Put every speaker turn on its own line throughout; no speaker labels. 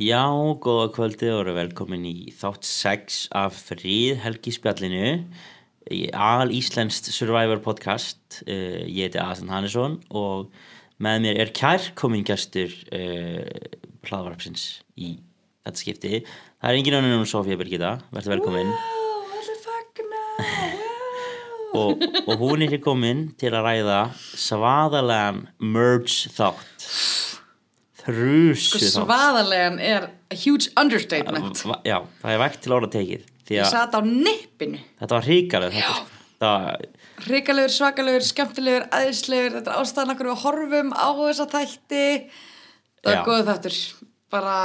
Já, góða kvöldi og eru velkomin í þátt 6 af fríð helgispjallinu í al Íslenskt Survivor podcast uh, ég heiti Aðan Hannesson og með mér er kær komingastur uh, hlaðvarpsins í þetta skipti það er engin önnur um Sofía Birgitta, verður velkomin
Wow, allir fagna wow.
og, og hún er hér komin til að ræða svaðalegan merge þátt
Sko,
þrjúsu þátt
Svaðarlegan er a huge understatement
Va- Já, það er vægt til orða tekið Því
Ég
að
sat á nippinu
þetta var hrikaleg þetta, sko.
Já.
það,
Hrikalegur, svakalegur, skemmtilegur, aðeinslegur Þetta er ástæðan okkur við horfum á þessa þætti
Já.
Það er góðu þáttur Bara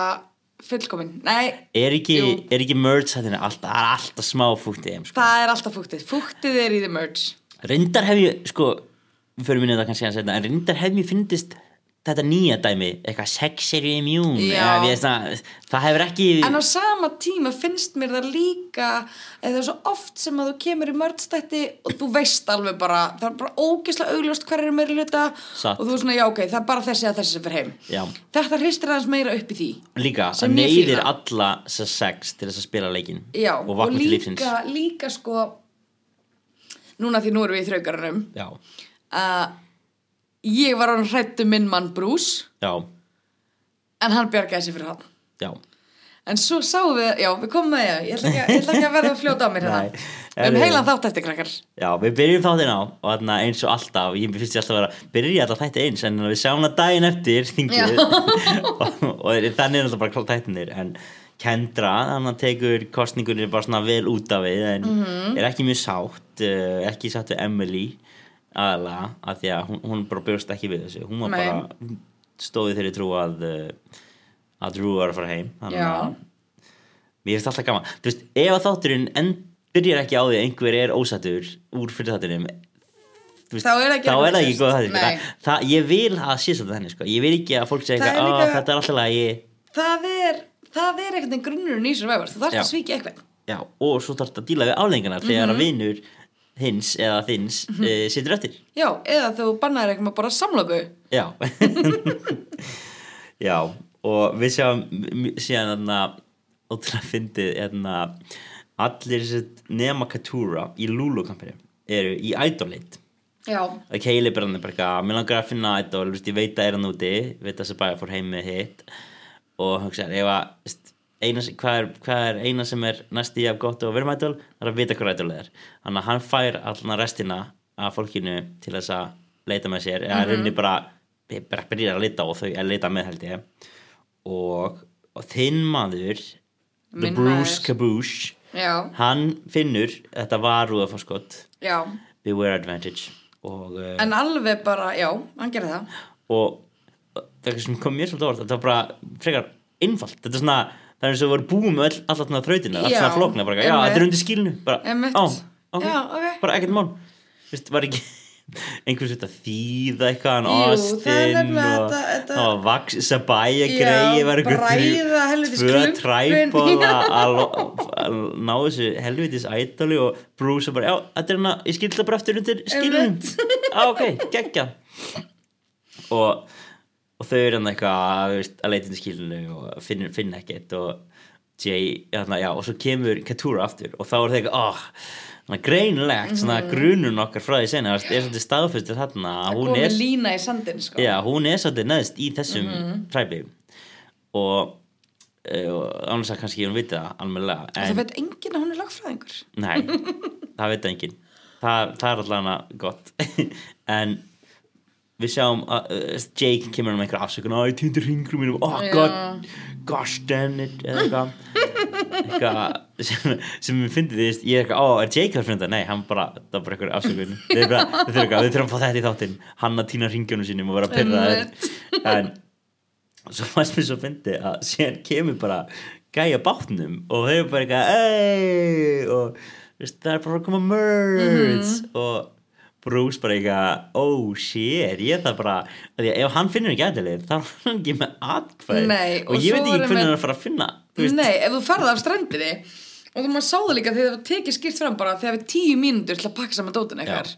fullkomin Nei,
er, ekki,
Jú.
er ekki merge þetta alltaf, það er alltaf smá fúkt í þeim sko.
það er alltaf fúktið Fúktið er í The Merge
Reyndar hef ég sko, við förum inn í þetta kannski að setna en reyndar hef ég fyndist þetta nýja dæmi eitthvað sex er ég immune
Já.
eða, ég, það, það hefur ekki
En á sama tíma finnst mér það líka eða það er svo oft sem að þú kemur í mörgstætti og þú veist alveg bara það er bara ógeðslega augljóst hver er meiri hluta
Satt.
og þú er svona já ok, það er bara þessi að þessi sem fer heim
Já.
Þetta hristir aðeins meira upp í því
líka
sem ég
neyðir
fíla.
alla þessa sex til þess að spila leikin
Já,
og vakna til lífsins
líka, líka sko núna því nú erum við í þraukarunum
Já,
að ég var hann hrættu minn mann Bruce
já,
en hann bjargaði sér fyrir hann
já
En svo sáum við, já, við komum með það, ég ætla ekki, að- ég ætla ekki að verða að fljóta á mér
Nei.
hérna. Við um heilan þátt eftir krakkar.
Já, við byrjum þáttinn á og þarna eins og alltaf, ég finnst ég alltaf að vera byrja alltaf þætti eins, en við sjáum það daginn eftir þingið og, og þannig er alltaf bara klátt þættinir en Kendra, þannig að tekur kostningunir bara svona vel út af við en
Mhm.
er ekki mjög sátt uh, ekki sátt við Emily aðalega, af því að hún, hún bara bjóst ekki við þessu, hún var
Nei.
bara stóði þeirri trú að uh, að Drew var að fara heim þannig
Já.
að Mér finnst alltaf gaman Þú veist, ef að þátturinn en byrjar ekki á því að einhver er ósattur úr fyrir þátturinn þú
Þá er það ekki
þá er það ekki
racist.
góð þáttur
Nei.
það, það, Ég vil að sé svolítið þannig sko. Ég vil ekki að fólk segja
Það er
eitthvað líka...
líka-
Þetta er alltaf lagi
það er það er einhvern veginn grunnurinn í survivor þú þarfst
Já.
að svíkja eitthvað
Já, Og svo þarf þetta að díla við aflengarnar
Mhm.
Þegar að vinur hins eða þins mm situr eftir
já, eða þú bannaðir eitthvað bara samlöku
Já Já og við sjáum m- m- síðan þarna ótrúlega fyndið hérna, allir þessi nema Katúra í Lulu-kampinu eru í idolate
já,
að Keili brann er bara eitthvað mér langar að finna idol, þú veist, ég veit að er hann úti veit að sem bara fór heim með hitt og hugsaðar, ef að þú veist, eina, sem- hvað, er, hvað er eina sem er næst í af gott og verðum idol, það er að vita hver idol það er þannig að hann fær allan restina af fólkinu til þess að leita með sér, eða mm
Mhm.
runni bara bara byrja að leita og þau að leita með held ég og, og þinn maður The
Minn
Bruce
maður.
Caboosh
já,
hann finnur, þetta var rúðafaskot
já
Beware Advantage og uh,
en alveg bara, já, hann gerði það
og það er eitthvað sem kom mér svolítið á orð þetta var bara frekar innfalt þetta er svona, það er eins og við vorum búum öll alltaf svona þrautina, alltaf
Já,
svona flókna bara, já,
einmitt.
þetta er undir skilinu bara,
Einmitt.
á, ok,
Já, ok.
bara ekkert mál Vist, var ekki einhvers veit að þýða eitthvað en
Jú, það er
Austin
nefnilega
og,
þetta- þetta-
og Vax Sabaya
Já,
greiði var einhver
bræða helvítis
tvö
klumpin.
træbóð
Já.
að lo- að ná þessu helvitis ædoli og Bruce bara, já, þetta er hann að ég skilta bara eftir undir skilinu á, ok, geggja og, og þau eru hann eitthvað þú veist, að leita inn í skilinu og finna, finna ekkert og Jay, hérna, já, og svo kemur Katúra aftur og þá er það eitthvað, oh, þannig greinlegt svona grunun okkar frá því sena það er svolítið staðfustur þarna að
að
hún
koma
er,
með lína í sandin sko.
já, hún er svolítið neðst í þessum træpi og, eh, og ánlega að kannski hún viti það almennilega
og
en,
það veit enginn að hún er lagfræðingur
Nei, það veit enginn Það, það er allavega gott En við sjáum að uh, Jake kemur um einhverja afsökun Æ, týndur hringrum mínum Oh
Já.
god, gosh damn it Eða eitthvað Eitthvað sem, sem við fyndið því Ég er eitthvað, ó, er Jake að finna þetta? Nei, hann bara, það er bara einhverja afsökun Við erum bara, við þurfum, eitthvað, við þurfum að fá þetta í þáttinn Hann að týna hringjunum sínum og vera að pyrra En svo fannst mér svo fyndi að síðan kemur bara gæja bátnum og þau eru bara eitthvað "Ey!" og veist, það er bara að koma merge
Mhm.
og Bruce bara eitthvað oh shit, ég það bara af því að ef hann finnur ekki aðlið þá er hann ekki með atkvæð
Nei,
og ég
og svo
veit ekki
erum
hvernig
við-
hann er að fara að finna þú veist,
nei, ef þú ferði af strandinni og þú maður sáðu líka þegar það tekið skýrt fram bara þegar við tíu mínútur til að pakka saman dótin eitthvað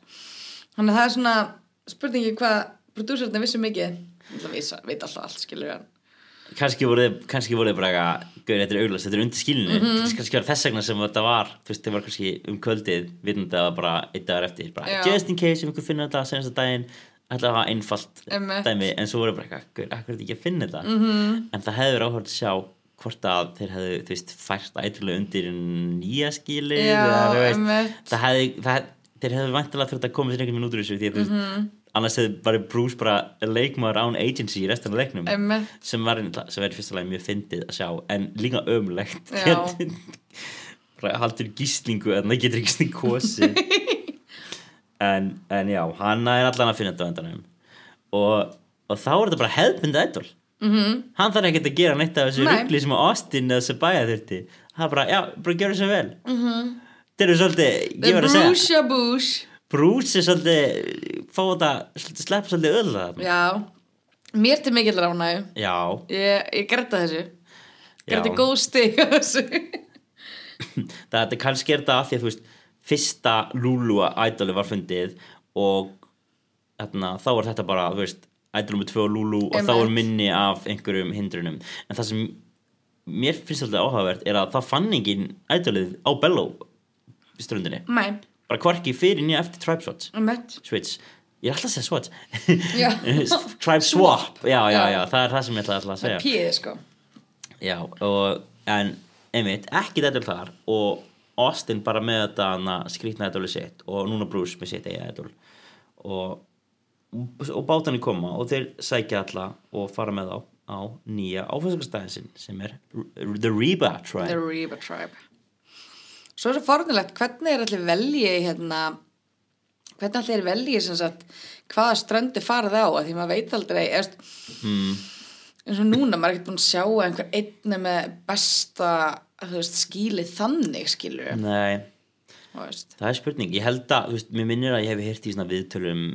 þannig að það er svona spurningi hvað prodúsörðin vissu mikið Ég ætla að vísa- veit alltaf allt skilur en
kannski voru þið kannski voru þið bara eitthvað gauðir þetta er auglast, þetta er undir skilinu
Mhm.
mm -hmm. kannski var þess vegna sem þetta var þú veist, þið var kannski um kvöldið vitandi að það var bara einn dagar eftir bara,
Já.
just in case, ef einhver finnur þetta senast að daginn ætla að hafa einfalt
Einmitt. Mhm.
dæmi en svo voru bara eitthvað, gauðir, akkur er þetta ekki að finna þetta -hmm. en það hefur áhverjum að sjá hvort að þeir hefðu, þú veist, fært ætlulega undir nýja skili
Já, einmitt.
það hefði, það, þeir hefðu vantilega þurft að koma sér einhvern minn út úr þessu því að þú veist,
Mhm.
annars hefði bara Bruce bara leikmaður án agency í restan af leiknum
Einmitt.
sem var, einhvern- sem var í fyrsta lagi mjög fyndið að sjá en líka ömulegt
Já.
Hérna, bara haldur gíslingu en það getur ekki snið kosi en, en já, hann er allan að finna þetta á endanum og, og þá er þetta bara hefðbundið idol mm -hmm. hann þarf ekkert að gera neitt af þessu
Mhm. Nei.
ruggli sem að Austin eða Sabaya þurfti það er bara, já, bara gera þessu vel mm -hmm. þetta eru svolítið, ég
Mhm. The
var að segja
Bruce Bush
Bruce er svolítið fá þetta, svolítið slepp svolítið öðla þarna
Já, mér til mikill ránægum
já,
Ég, ég gretta þessu Gretta
Já.
góð stig af þessu
það þetta kannski er þetta af því að þú veist fyrsta Lulua ædoli var fundið og þarna, þá er þetta bara, þú veist ædolum með tvö og Lulu og þá er
Einmitt.
minni af einhverjum hindrunum en það sem mér finnst alltaf áhugavert er að það fann engin ædolið á Bello ströndinni,
Mæ,
bara hvorki fyrir nýja eftir Tribe Swatch,
um mitt
Switch ég er alltaf að segja Swatch
Já.
Tribe Swap, já, já,
Já.
já, það er það sem ég ætlaði alltaf að segja
Píði sko
Já, og, en einmitt, ekki þetta þar og Austin bara með þetta hana, skrýtna ædoli sitt og núna Bruce með sitt eiga ædol og, og bátanir koma og þeir sækja alla og fara með þá á nýja áfæðsakastæðin sinn sem er R- The Reba
The
Tribe
Reba Tribe Svo er svo fornilegt, hvernig er allir veljið hérna hvernig allir er veljið sem sagt hvaða ströndu farið á að því maður veit aldrei eðst,
Hmm.
mm. eins og núna maður er ekkert búin að sjá að einhver einna með besta þú veist, skílið þannig skilur mm.
Nei, Hmm.
veist,
það er spurning, ég held að, þú veist, mér minnir að ég hef hirt í svona viðtölum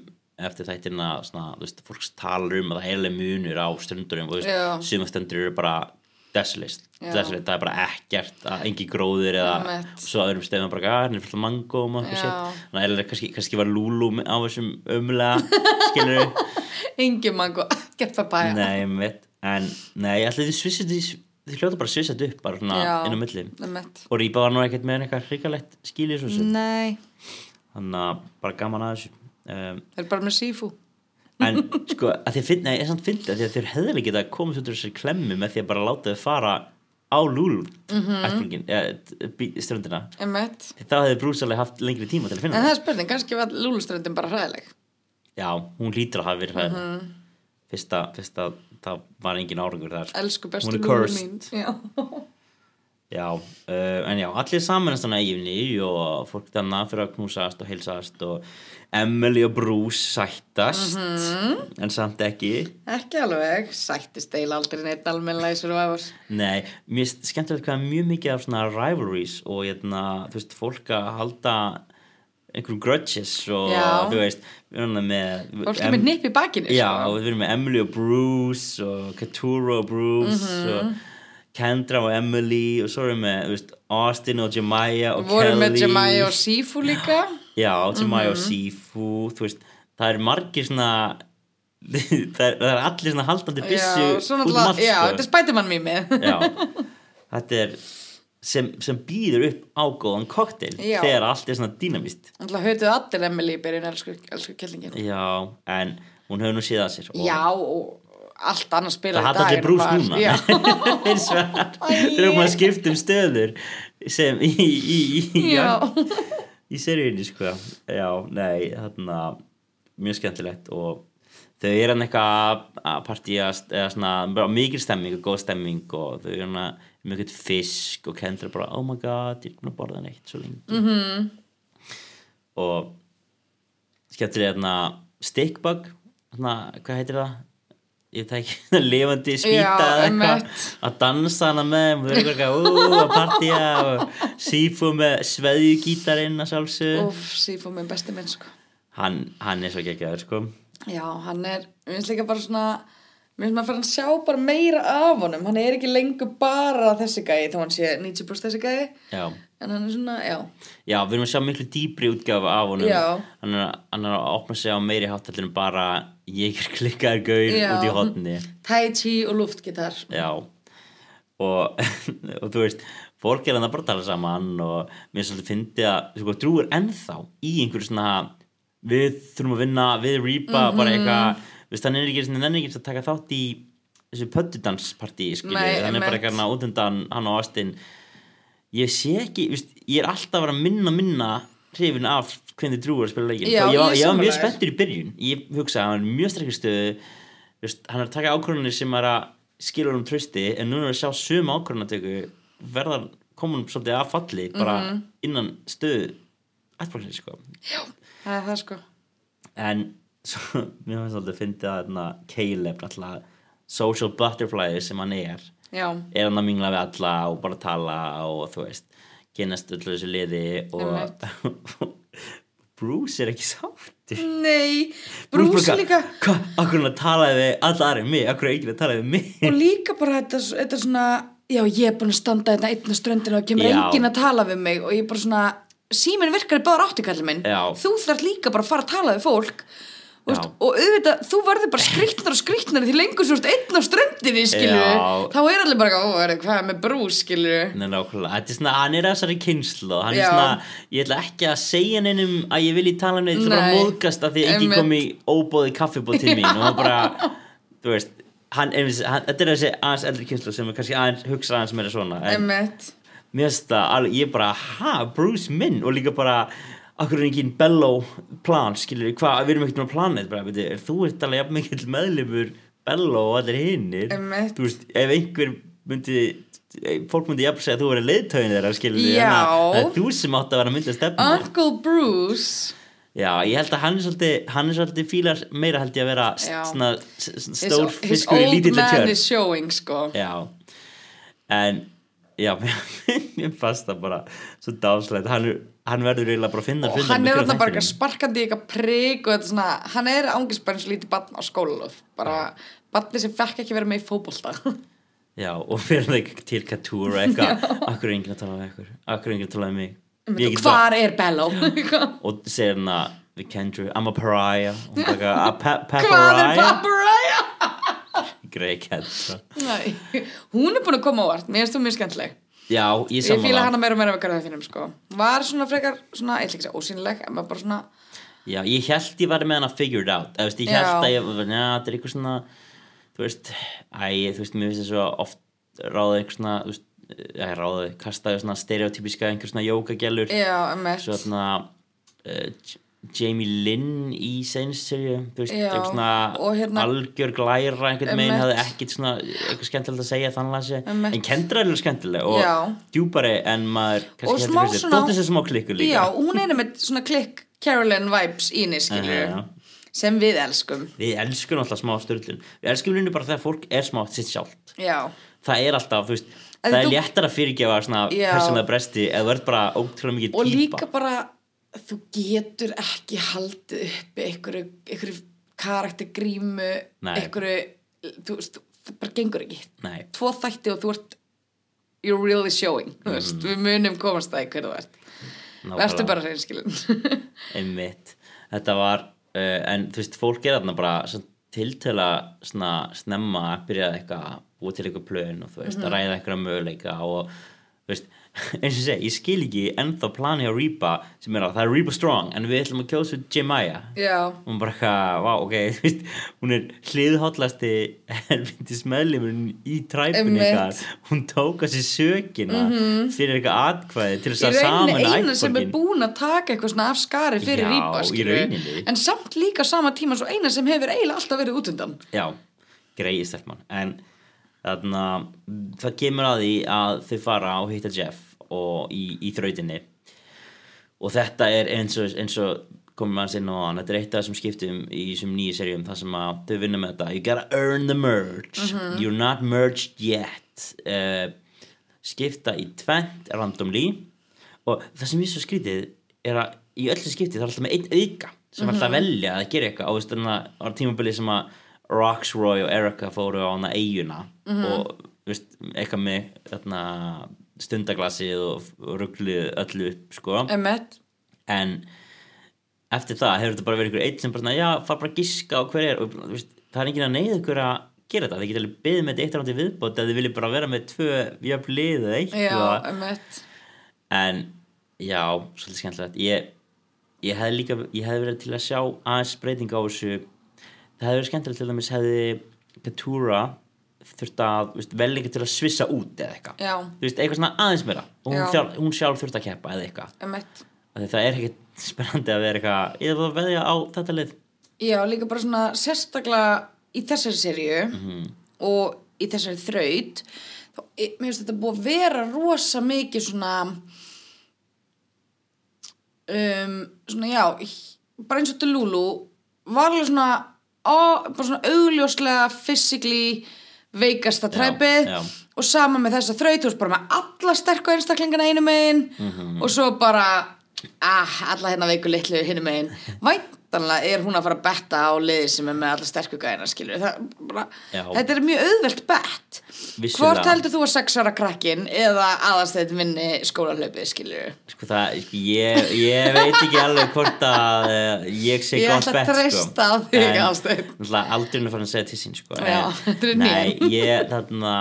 eftir þættina, svona, þú veist, fólks talar um að það er heilig munur á stundurum, þú
Já.
veist, suma stundur eru bara desolist,
Já.
desolist, það er bara ekkert, að engin gróður eða
Einmitt.
svo að öðrum stefnum bara, að hann er fullt af mango og maður
Já.
sétt, þannig að er kannski, kannski var Lulu á þessum ömulega, skilur
engin mango, ekkert papaya
nei, mitt, en, nei, allir þið svissið, þið, þið hljóta bara svissið upp, bara svona
Já.
inn á milli
um mitt
og Rípa var nú ekkert með eitthvað hrikalegt skilið svo sem,
Nei,
þannig að bara gaman að þessu um,
það er bara með sífú
en sko að þið finna, ég er samt fyndið af því að þeir hefði ekki að komast út úr þessari klemmu með því að bara láta þau fara á lúl mm -hmm. ströndina
um mitt
þá hefði Bruce alveg haft lengri tíma til að
En
finna það
það er spurning, kannski var lúluströndin bara hræðileg
já, hún lítur að hafa verið hræðileg fyrst, að, fyrst að það var engin árangur þar
Elsku bestu
Hún er
Lúlú
cursed.
mín Já,
já, uh, en já, allir samanast þannig að yfni og fólk þannig fyrir að knúsast og heilsast og Emily og Bruce sættast en samt ekki
ekki alveg Sættist eil aldrei neitt almennilega í survivor
Nei, mér finnst skemmtilegt hvað er mjög mikið af svona rivalries og hérna, þú veist, fólk að halda einhverjum grudges og
Já.
þú veist, við erum þarna með
Fólk er með sko. nipp í bakinu
Já, og við erum með Emily og Bruce og Katuro og Bruce
Mhm.
og Kendra og Emily og svo erum við með, þú veist, Austin og Jemaya og
sko. Voru
Kelly
með Jemai og Mhm. Sifu líka
Já, Jemaya og Sifu, þú veist, það er margir svona það, er, það er allir svona haldandi byssu
Já, svona
út um allt,
alltaf Já,
sko.
þetta er Spiderman mýmið
Já, þetta er sem, sem býður upp ágóðan koktel
Já.
þegar allt er svona dýnamist
Alltaf hötuð allir Emily í byrjun Elsku, elsku kellingin
Já, en hún hefur nú séð að sér og
Já, og allt annars spila
það hatt allir brús núna
Já,
eins og
Æi.
þeir eru maður að skipta um stöður sem í, í, í, í,
já.
í seríunni sko Já, nei, þarna mjög skemmtilegt og þau eru hann eitthvað að partíast eða svona, bara mikil stemming og góð stemming og þau eru hann að mjög eitthvað fisk og kendra bara, oh my god, ég er búin að borða neitt svo lengi mm -hmm. og skemmtilega hérna stickbug hérna, hvað heitir það? ég veit það ekki, lifandi spýta
Já,
eða eitthvað
einmitt.
að dansa hana með þeim og þau eru eitthvað ú, að partía og sífú með sveðjugítarinn að sjálfsög
Úf, Sifu minn besti minn sko
hann, hann er svo geggjaður sko
Já, hann er, mér finnst líka bara svona Mér finnst maður að fara að sjá bara meira af honum, hann er ekki lengur bara þessi gæi þó hann sé 90% þessi gæi,
já,
en hann er svona, já,
já, við erum að sjá miklu dýpri útgjáfa af honum
Já.
hann er, hann er að opna sig á meiri háttallinu bara ég er klikkaður gaur
Já.
út í hotni
tai chi og luftgitar.
já og, og þú veist fólk er hann að bara tala saman og mér er svolítið fyndi að sko, Drew er ennþá í einhverju svona við þurfum að vinna, við rýpa
Mhm.
bara eitthvað, þú veist, hann er ekki hann er ekki að taka þátt í þessu pöddudanspartí, skilju,
Nei,
hann er bara
einmitt.
eitthvað hérna út undan hann og Austin ég sé ekki, þú veist, ég er alltaf að vera að minna minna hrifin af hvernig Drew er að spila leikin,
Já,
ég, var-
ég er
ég var mjög
sammála þér.
spennt eftir í byrjun ég hugsa að hann er í mjög strekkar stöðu þú veist, hann er að taka ákvörðunir sem er að skilur um trösti en núna er að sjá sömu ákvörðunatöku verða komunum svolítið að falli bara
Mhm.
innan stöðu ættbólknir sko
Það er það sko.
en svo, mér finnst svolítið að fyndi að hérna, Caleb alltaf social butterfly sem hann er
Já,
er hann að mingla við alla og bara tala og þú veist, kynast öllu þessu liði og Bruce er ekki sáttur
nei, brúsi líka
Hvað, akkur hann talaði við alla aðri mig, akkur er ekki að talaði við mig
og líka bara þetta, þetta svona, já, ég er búin að standa þetta einn á ströndinu og kemur
Já.
enginn að tala við mig og ég er bara svona, síminn virkar í báðar áttikallin minn,
Já.
þú þarf líka bara að fara að tala við fólk. þú Veist,
Já.
og auðvitað, þú verður bara skrýtnar og skrýtnar því lengur svo ert einn á ströndinni skilju,
Já.
þá er allir bara "Ó, er- hvað er með brús skilju
Nei, nákvæmlega, þetta er svona, hann er að þessari kynslu hann
Já.
er svona, ég ætla ekki að segja neinum að ég vil í tala um neitt bara
Nei,
móðgast af því að enginn
einmitt.
kom í óbóði kaffibóð til mín og hann bara, þú veist hann, einmitt, hann, þetta er þessi aðeins eldri kynslu sem er kannski aðeins, hugsa aðeins meira svona en
Emmett
mér finnst það, alveg, ég bara, ha, Bruce minn og líka bara, akkur er enginn bello plan, skilur við, hvað, við erum ekkert með planið, bara, veitir, er þú ert alveg jafn mikill meðlifur bello og allir hinnir
Einmitt.
þú veist, ef einhver myndi fólk myndi jafn segja að þú verið leiðtögin þeirra skilur
Já. Ah.
það er þú sem átt að vera að mynda stefnu
Uncle Bruce
já, ég held að hann er svolítið hann er svolítið fílar meira held ég að vera s-
Já.
svona, s- s-
His-
stór
His
fiskur í
old
lítilli
man
tjörn
is showing sko
Já En Já, mér fannst það bara Svo dáslegt, hann, er- hann verður eiginlega bara að finna
og
finna
hann er
með hverjum
þarna bara eitthvað
þættinum.
sparkandi í eitthvað prik og þetta er svona, hann er ángisbæðin svo lítið barn á skólulof bara barni sem fekk ekki verið með í fótbolta
Já, og fyrir það til Katúr og eitthvað Akkur er enginn að tala um ykkur Akkur er enginn að tala um mig Ég get bara-
hvar er Bello hvað
Og segir hann að Við kendru, I'm a pariah Og hún bara, "A pa-
er
Papariah
Papariah
Grey Kendra
Nei, hún er búin að koma á vart, mér finnst þú mjög skemmtileg
Já, ég
ég fíla
samanlega
hana meira og meira með garðafinum sko var svona frekar, svona, ég ætla ekki að segja ósýnileg en var bara svona,
Já, ég held ég var með hana figured out Eða, veist, Ég
Já.
held að ég, já, þetta er eitthvað svona Þú veist, æ, þú veist, mér finnst þess að oft ráða eitthvað svona þú veist, eh, Já, ráða, kastaði svona stereotypíska einhver svona jókagelur
já, emett
Svo þarna uh, J- Jamie Lynn í seinserju Þú veist,
Já,
eitthvað
og
svona
hérna-
algjör glæra einhvern veginn
Emmett.
hafði ekkert svona eitthvað skemmtilegt að segja þannig að
Emmett.
En kendra er alveg skemmtileg og
Já.
djúpari en maður
Og smá svona-
Dóttir sem smá klikku líka
já, hún er með svona klikk Carolyn vibes í henni skilju
Aha, já.
sem við elskum
Við elskum alltaf smá störlun Við elskum línu bara þegar fólk er smá sitt sjálft
já,
Það er alltaf, þú veist
En
Það er
þú-
léttar að fyrirgefa svona
Já.
persónlega bresti eða þú ert bara ótrúlega mikið
og
típa
líka bara þú getur ekki haldið uppi einhverju, einhverju karaktergrímu
Nei.
einhverju, þú veist það bara gengur ekki,
Nei,
tvo þætti og þú ert you're really showing mm. veist, við munum komast það í hverju þú ert verður bara reynskilin
Einmitt Þetta var, uh, en þú veist, fólk er þarna bara svona tiltöla svona snemma að byrja eitthvað búið til eitthvað plön og þú veist,
Mhm.
að ræða eitthvað möguleika og þú veist, eins og ég segi, ég skil ekki ennþá plani á Reba sem er að það er Reba Strong en við ætlum að kjósa Jemaya
já,
og hún bara eitthvað, vá, ok, þú veist hún er hliðhóllasti helvindis meðlumurinn í træpunni
Einmitt. Mhm.
ykkar, hún tók að sér sökina fyrir eitthvað atkvæði til þess
í
að saman
rauninni eina sem er búin að taka eitthvað svona af skari
Já,
fyrir rýpa
í rauninni.
en samt líka sama tíma svo eina sem hefur eiginlega alltaf verið út undan
já, greiði stelpmann en þarna það kemur að því að þau fara og hitta Jeff og í, í þrautinni og þetta er eins og, eins og komum aðeins inn á hann, þetta er eitt af þessum skiptum í þessum nýju serjum, þar sem að þau vinna með þetta, you gotta earn the merge you're not merged yet uh, skipta í tvent randomly og það sem ég svo skrítið er að í öllu skipti það er alltaf með einn auka sem er alltaf að velja að gera eitthvað á veist þannig að á tímabili sem að Roxroy og Erika fóru á hana eiguna og veist, eitthvað með þarna, stundaglasið og ruggluð öllu upp sko.
Emmett
en eftir það hefur þetta bara verið einhver eitt sem bara svona, já, fara bara að giska á hver er og þú veist, það er enginn að neyða ykkur að gera þetta, þið geta alveg byggð með þetta eitt rándi viðbót eða þið viljið bara vera með tvö jöfn lið eða
Já,
eitthvað
Emmett
en já, svolítið skemmtilegt ég, ég hefði líka ég hefði verið til að sjá aðeins breyting á þessu það hefði verið skemmtilegt til dæmis hefði Katúra þurft að þú veist, vel eitthvað til að svissa út eða eitthvað
Já.
Þú veist, eitthvað svona aðeins meira og hún,
Já.
þjálf, hún sjálf þurft að keppa eða eitthvað
Emmett
Af því það er ekkert spennandi að vera eitthvað ég þarf að veðja á þetta lið
Já, líka bara svona sérstaklega í þessari serju
Mhm.
og í þessari þraut þá, e- mér finnst þetta búið að vera rosa mikið svona um, svona já h- bara eins og til Lulu var alveg svona, ó, bara svona augljóslega physically veikasta træpið
já.
og sama með þessa þraut, þú veist bara með alla sterku einstaklingana einu megin
Mhm.
og svo bara ah, alla hérna veiku litlu hinu megin væntanlega er hún að fara að betta á liði sem er með alla sterku gæðina skilur það, er bara,
Já.
þetta er mjög auðvelt bett
Vissulega.
hvort heldur þú að sex ára krakkin eða aðastætt vinni skólahlaupið skilur
sko það, sko, ég, ég veit ekki alveg hvort að eh, ég sé
Ég
gott
ætla að
bett sko.
treysta á þig,
En
Ásteinn.
náttúrulega aldurinn er farin að segja til sín sko.
Já,
En-
þetta er
nei,
nýjan.
ég þarna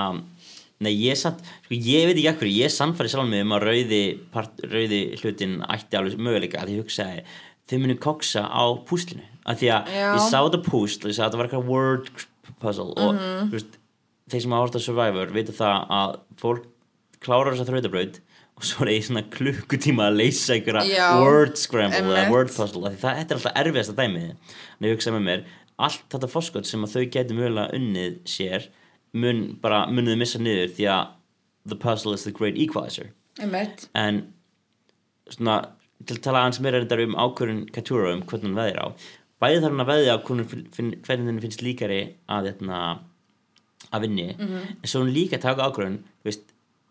nei, ég samt, sko, ég veit ekki akkur ég samfæri sjálf mig um að rauði part, rauði hlutin ætti alveg möguleika að ég hugsaði, þau munu koksa á púslinu, af því að
Já.
ég sá þetta púsl, ég sá þetta var eitthvað word puzzle og
Mhm.
þú veist þeir sem hafa hort að Survivor vita það að fólk klárar þessa þrautabraut og svo er eigi svona klukkutíma að leysa einhverja
Já,
word scramble
einmitt.
eða word puzzle af því það, þetta er alltaf erfiðasta dæmið en ég hugsaði með mér, allt þetta fórskot sem að þau getur mögulega unnið sér mun bara, munið missa niður því að the puzzle is the great equalizer
einmitt
en svona, til að tala aðeins meira reyndar um ákvörðun Katúra um hvernig hann veðir á bæði þarf hann að veðja á hvernig hún finn- hvernig henni finnst líkari að hérna, að vinni
Mhm.
en svo er hún líka að taka ákvörðun þú veist,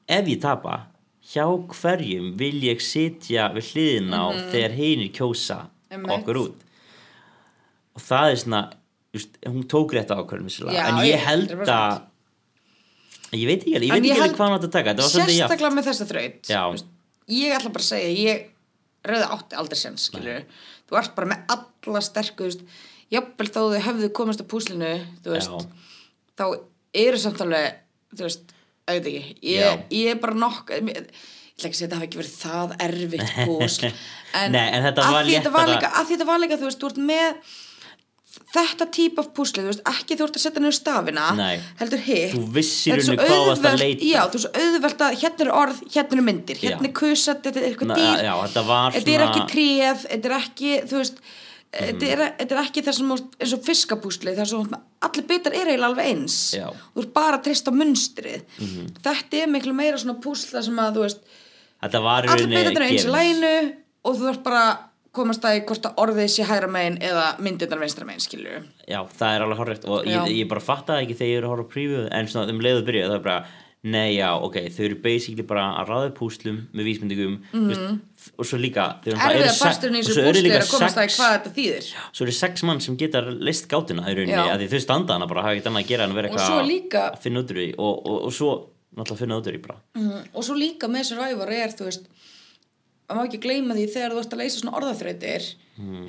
ef ég tapa hjá hverjum vil ég sitja við hliðina á þegar hinir kjósa
Mhm. Einmitt.
okkur út og það er svona just, hún tók rétt ákvörðun
Já,
vissulega, en ég
ég-
held að
100%.
ég veit ekki alveg, ég
En
veit
ég
ekki
held-
alveg hvað hann átt að taka þetta var svolítið jafn
sérstaklega með þessa þraut
Já.
Þú veist, ég ætla bara að segja ég rauði átti aldrei sem skilur þú ert bara með alla sterku þú veist, jafnvel þó þau hefðu komist á púslinu þú veist,
Já.
þá eru samt alveg þú veist, ég veit ekki ég,
Já.
ég er bara nokk ég ætla ekki að segja að það hafi ekki verið það erfitt púsl en,
Nei, en þetta
að
var
því þetta var
léttara-
líka, að því þetta var líka þú veist, þú ert með þetta típ af púsli, þú veist, ekki þú ert að setja niður stafina,
Nei.
heldur hitt
Þú vissir
Þetta er
í
svo
rauninni hvað varst að
auðvelt-
leita.
já, þú veist, auðvelt að hérna er orð, hérna er myndir hérna
Já.
er kusa, þetta er eitthvað
Na,
dýr
já, þetta var
þetta er
svona-
ekki tréð, þetta er ekki þú veist, þetta,
Mm.
er, þetta er ekki þessum eins og fiskapúsli, þar sem allir bitar er eiginlega alveg eins
Já.
þú ert bara að treysta á munstrið þetta er miklu meira svona púsla sem að þú veist,
Þetta var í
allir
rauninni
bitar er eins í
gefins.
lænu og þú ert bara að komast að í hvort að orðið sé hægra megin eða myndirnar vinstra megin skilju
Já, það er alveg horrekt og
Já.
ég, ég bara fatta það ekki þegar ég er að horfa á prífið en svona um leiðu byrja það er bara Nei, já, ok, þau eru basically bara að ráða upp púslum með vísmyndingum mm veist, og svo líka þau náttúrulega
erfið
eru
að
se-
basturinn Mhm. í
og svo
þessu
eru
púsli
líka
er að komast að í
sex-
hvað þetta þýðir
Svo eru sex mann sem geta list gátuna í rauninni
Já.
að því þau standa hana bara hafa ekkert annað að gera en að vera
Og svo líka-
að finna út úr því og, og, og svo náttúrulega finna út úr því bara
Mm, og svo líka með Survivor er þú veist maður má ekki gleyma því þegar þú ert að leysa svona orðaþrautir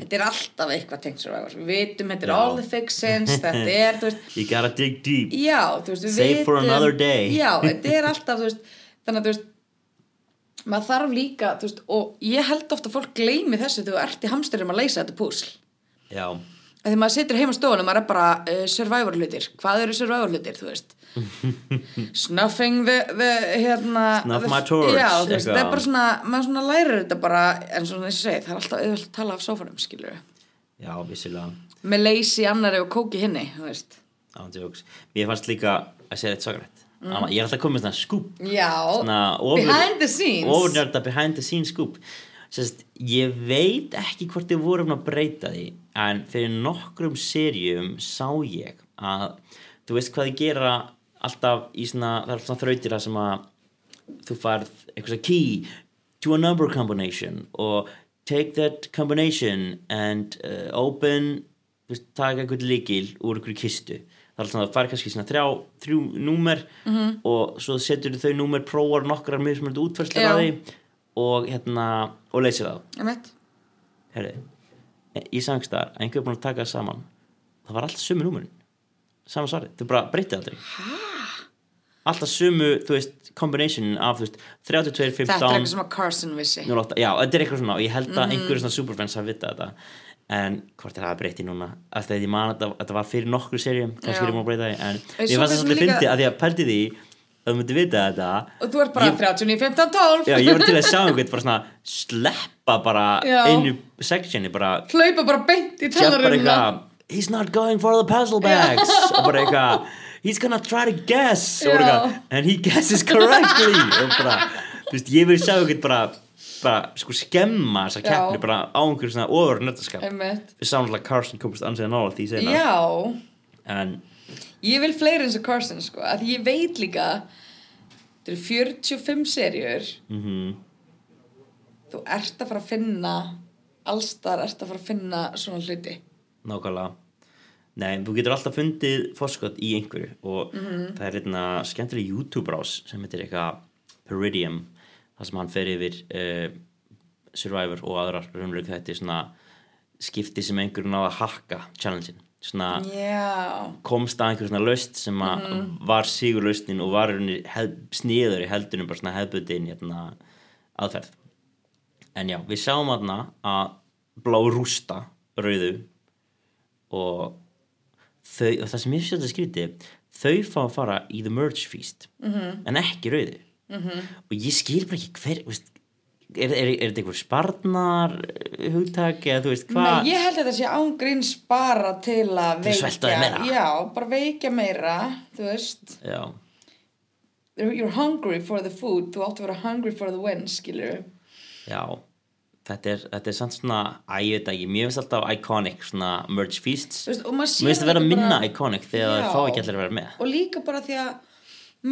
þetta er alltaf eitthvað tengt Survivor við vitum, þetta er
Mm. Já.
all the fixins þetta er, þú veist,
You gotta dig deep
já þú veist, við
Save for
vitum-
another day.
já, þetta er alltaf, þú veist þannig að þú veist maður þarf líka, þú veist, og ég held ofta að fólk gleymi þessu þegar þú ert í hamsturum að leysa þetta púsl
Já,
að því maður situr heima á stofunum maður er bara uh, survivor hlutir hvað eru survivor hlutir, þú veist snuffing the, the hérna,
Snuff
the-
my torch,
já, þú veist,
eitthvað.
það er bara svona, maður svona lærir þetta bara en svona þessi segið, það er alltaf auðvöld að tala af sófanum, skilur
já, vissilega
með leysi annari og kóki hinni, þú veist
Ándjóks. Mér fannst líka að segja þetta sakarætt. Mm. Ég er alltaf komið með svona skúp.
já,
Svona ofur-
behind the scenes
Ofurnörda behind the scenes skúp. Sest, ég veit ekki hvort þið vorum að breyta því en fyrir nokkrum serjum sá ég að þú veist hvað þið gera alltaf í svona, það er svona þrautir að sem að þú færð eitthvað svona key to a number combination og take that combination and uh, open veist, taka einhvern líkil úr einhverju kistu það er alltaf að það fær kannski svona þrjá, þrjú númer -hmm. og svo setur þau númer prófar nokkrar mjög sem eru útferðslega
Já.
að því og hérna og leysir það
einmitt
Herri, í sangstæðar, einhver er búin að taka það saman það var alltaf sömu númerin sama svarið, þau bara breytið aldrei Hæ? alltaf sömu, þú veist combinationin af, þú veist, 32, 15
þetta er eitthvað Mhm. sem að Carson vissi
08, já, þetta er eitthvað svona og ég held að mm einhverjum svona superfans hafi vitað þetta en hvort er það að breyti núna að því að ég man að þetta- þetta var fyrir nokkru serjum kannski
Já.
er ég má breyta því en
En
ég fannst
svo finnst
það
mér
svolítið
líka-
fyndi að því að pældi því að þú myndi vita þetta
og þú ert bara
Ég-
39, 15, 12
já, ég var til að sjá einhvern bara svona sleppa bara
Já.
einu sectioni bara
hlaupa bara beint í
Jeff bara
talarumna
eitthvað he's not going for the puzzle bags og bara eitthvað he's gonna try to guess og bara
Já.
eitthvað and he guesses correctly og bara þú veist ég vil sjá eitthvað bara bara sko skemma þessa
Já.
keppni bara á einhverjum svona ofur nöttaskap
einmitt
við sáum alltaf Carson komist ansið að nála því segna
já
en
Ég vil fleiri eins og Carson sko að því ég veit líka þetta eru 45 serjur
mhm,
þú ert að fara að finna allstar ert að fara að finna svona hluti
nákvæmlega Nei, þú getur alltaf fundið fórskot í einhverju og það er hérna skemmtileg YouTube-brás sem heitir eitthvað Peridium, þar sem hann fer yfir uh, Survivor og aðrar raunverið þetta svona skipti sem einhverju náða að hakka challenge-in, svona
Já,
komst að einhver svona löst sem að var sigurlaustin og var sniður í heldunum bara svona hefðbundin hérna, aðferð en já, við sjáum aðna að blá rústa rauðu og, þau, og það sem ég sé þetta skríti þau fá að fara í the merge feast -hmm. en ekki rauðu -hmm. og ég skil bara ekki hver veist, er, er, er þetta einhver sparnar hugtak eða þú veist
Nei,
hvað
ég held að þetta sé ángríns bara til að
Til að svelta þig meira.
Já, bara veikja meira, þú veist
já,
You're hungry for the food, þú átt að vera hungry for the win, skilur
Já, þetta er, þetta er samt svona, æ, ég veit ekki, mér finnst alltaf iconic svona merge feasts.
Þú veist, og maður sér
Mér finnst það vera
líka
minna
bara-
iconic þegar
Já.
það fá ekki allir að vera með.
og líka bara því að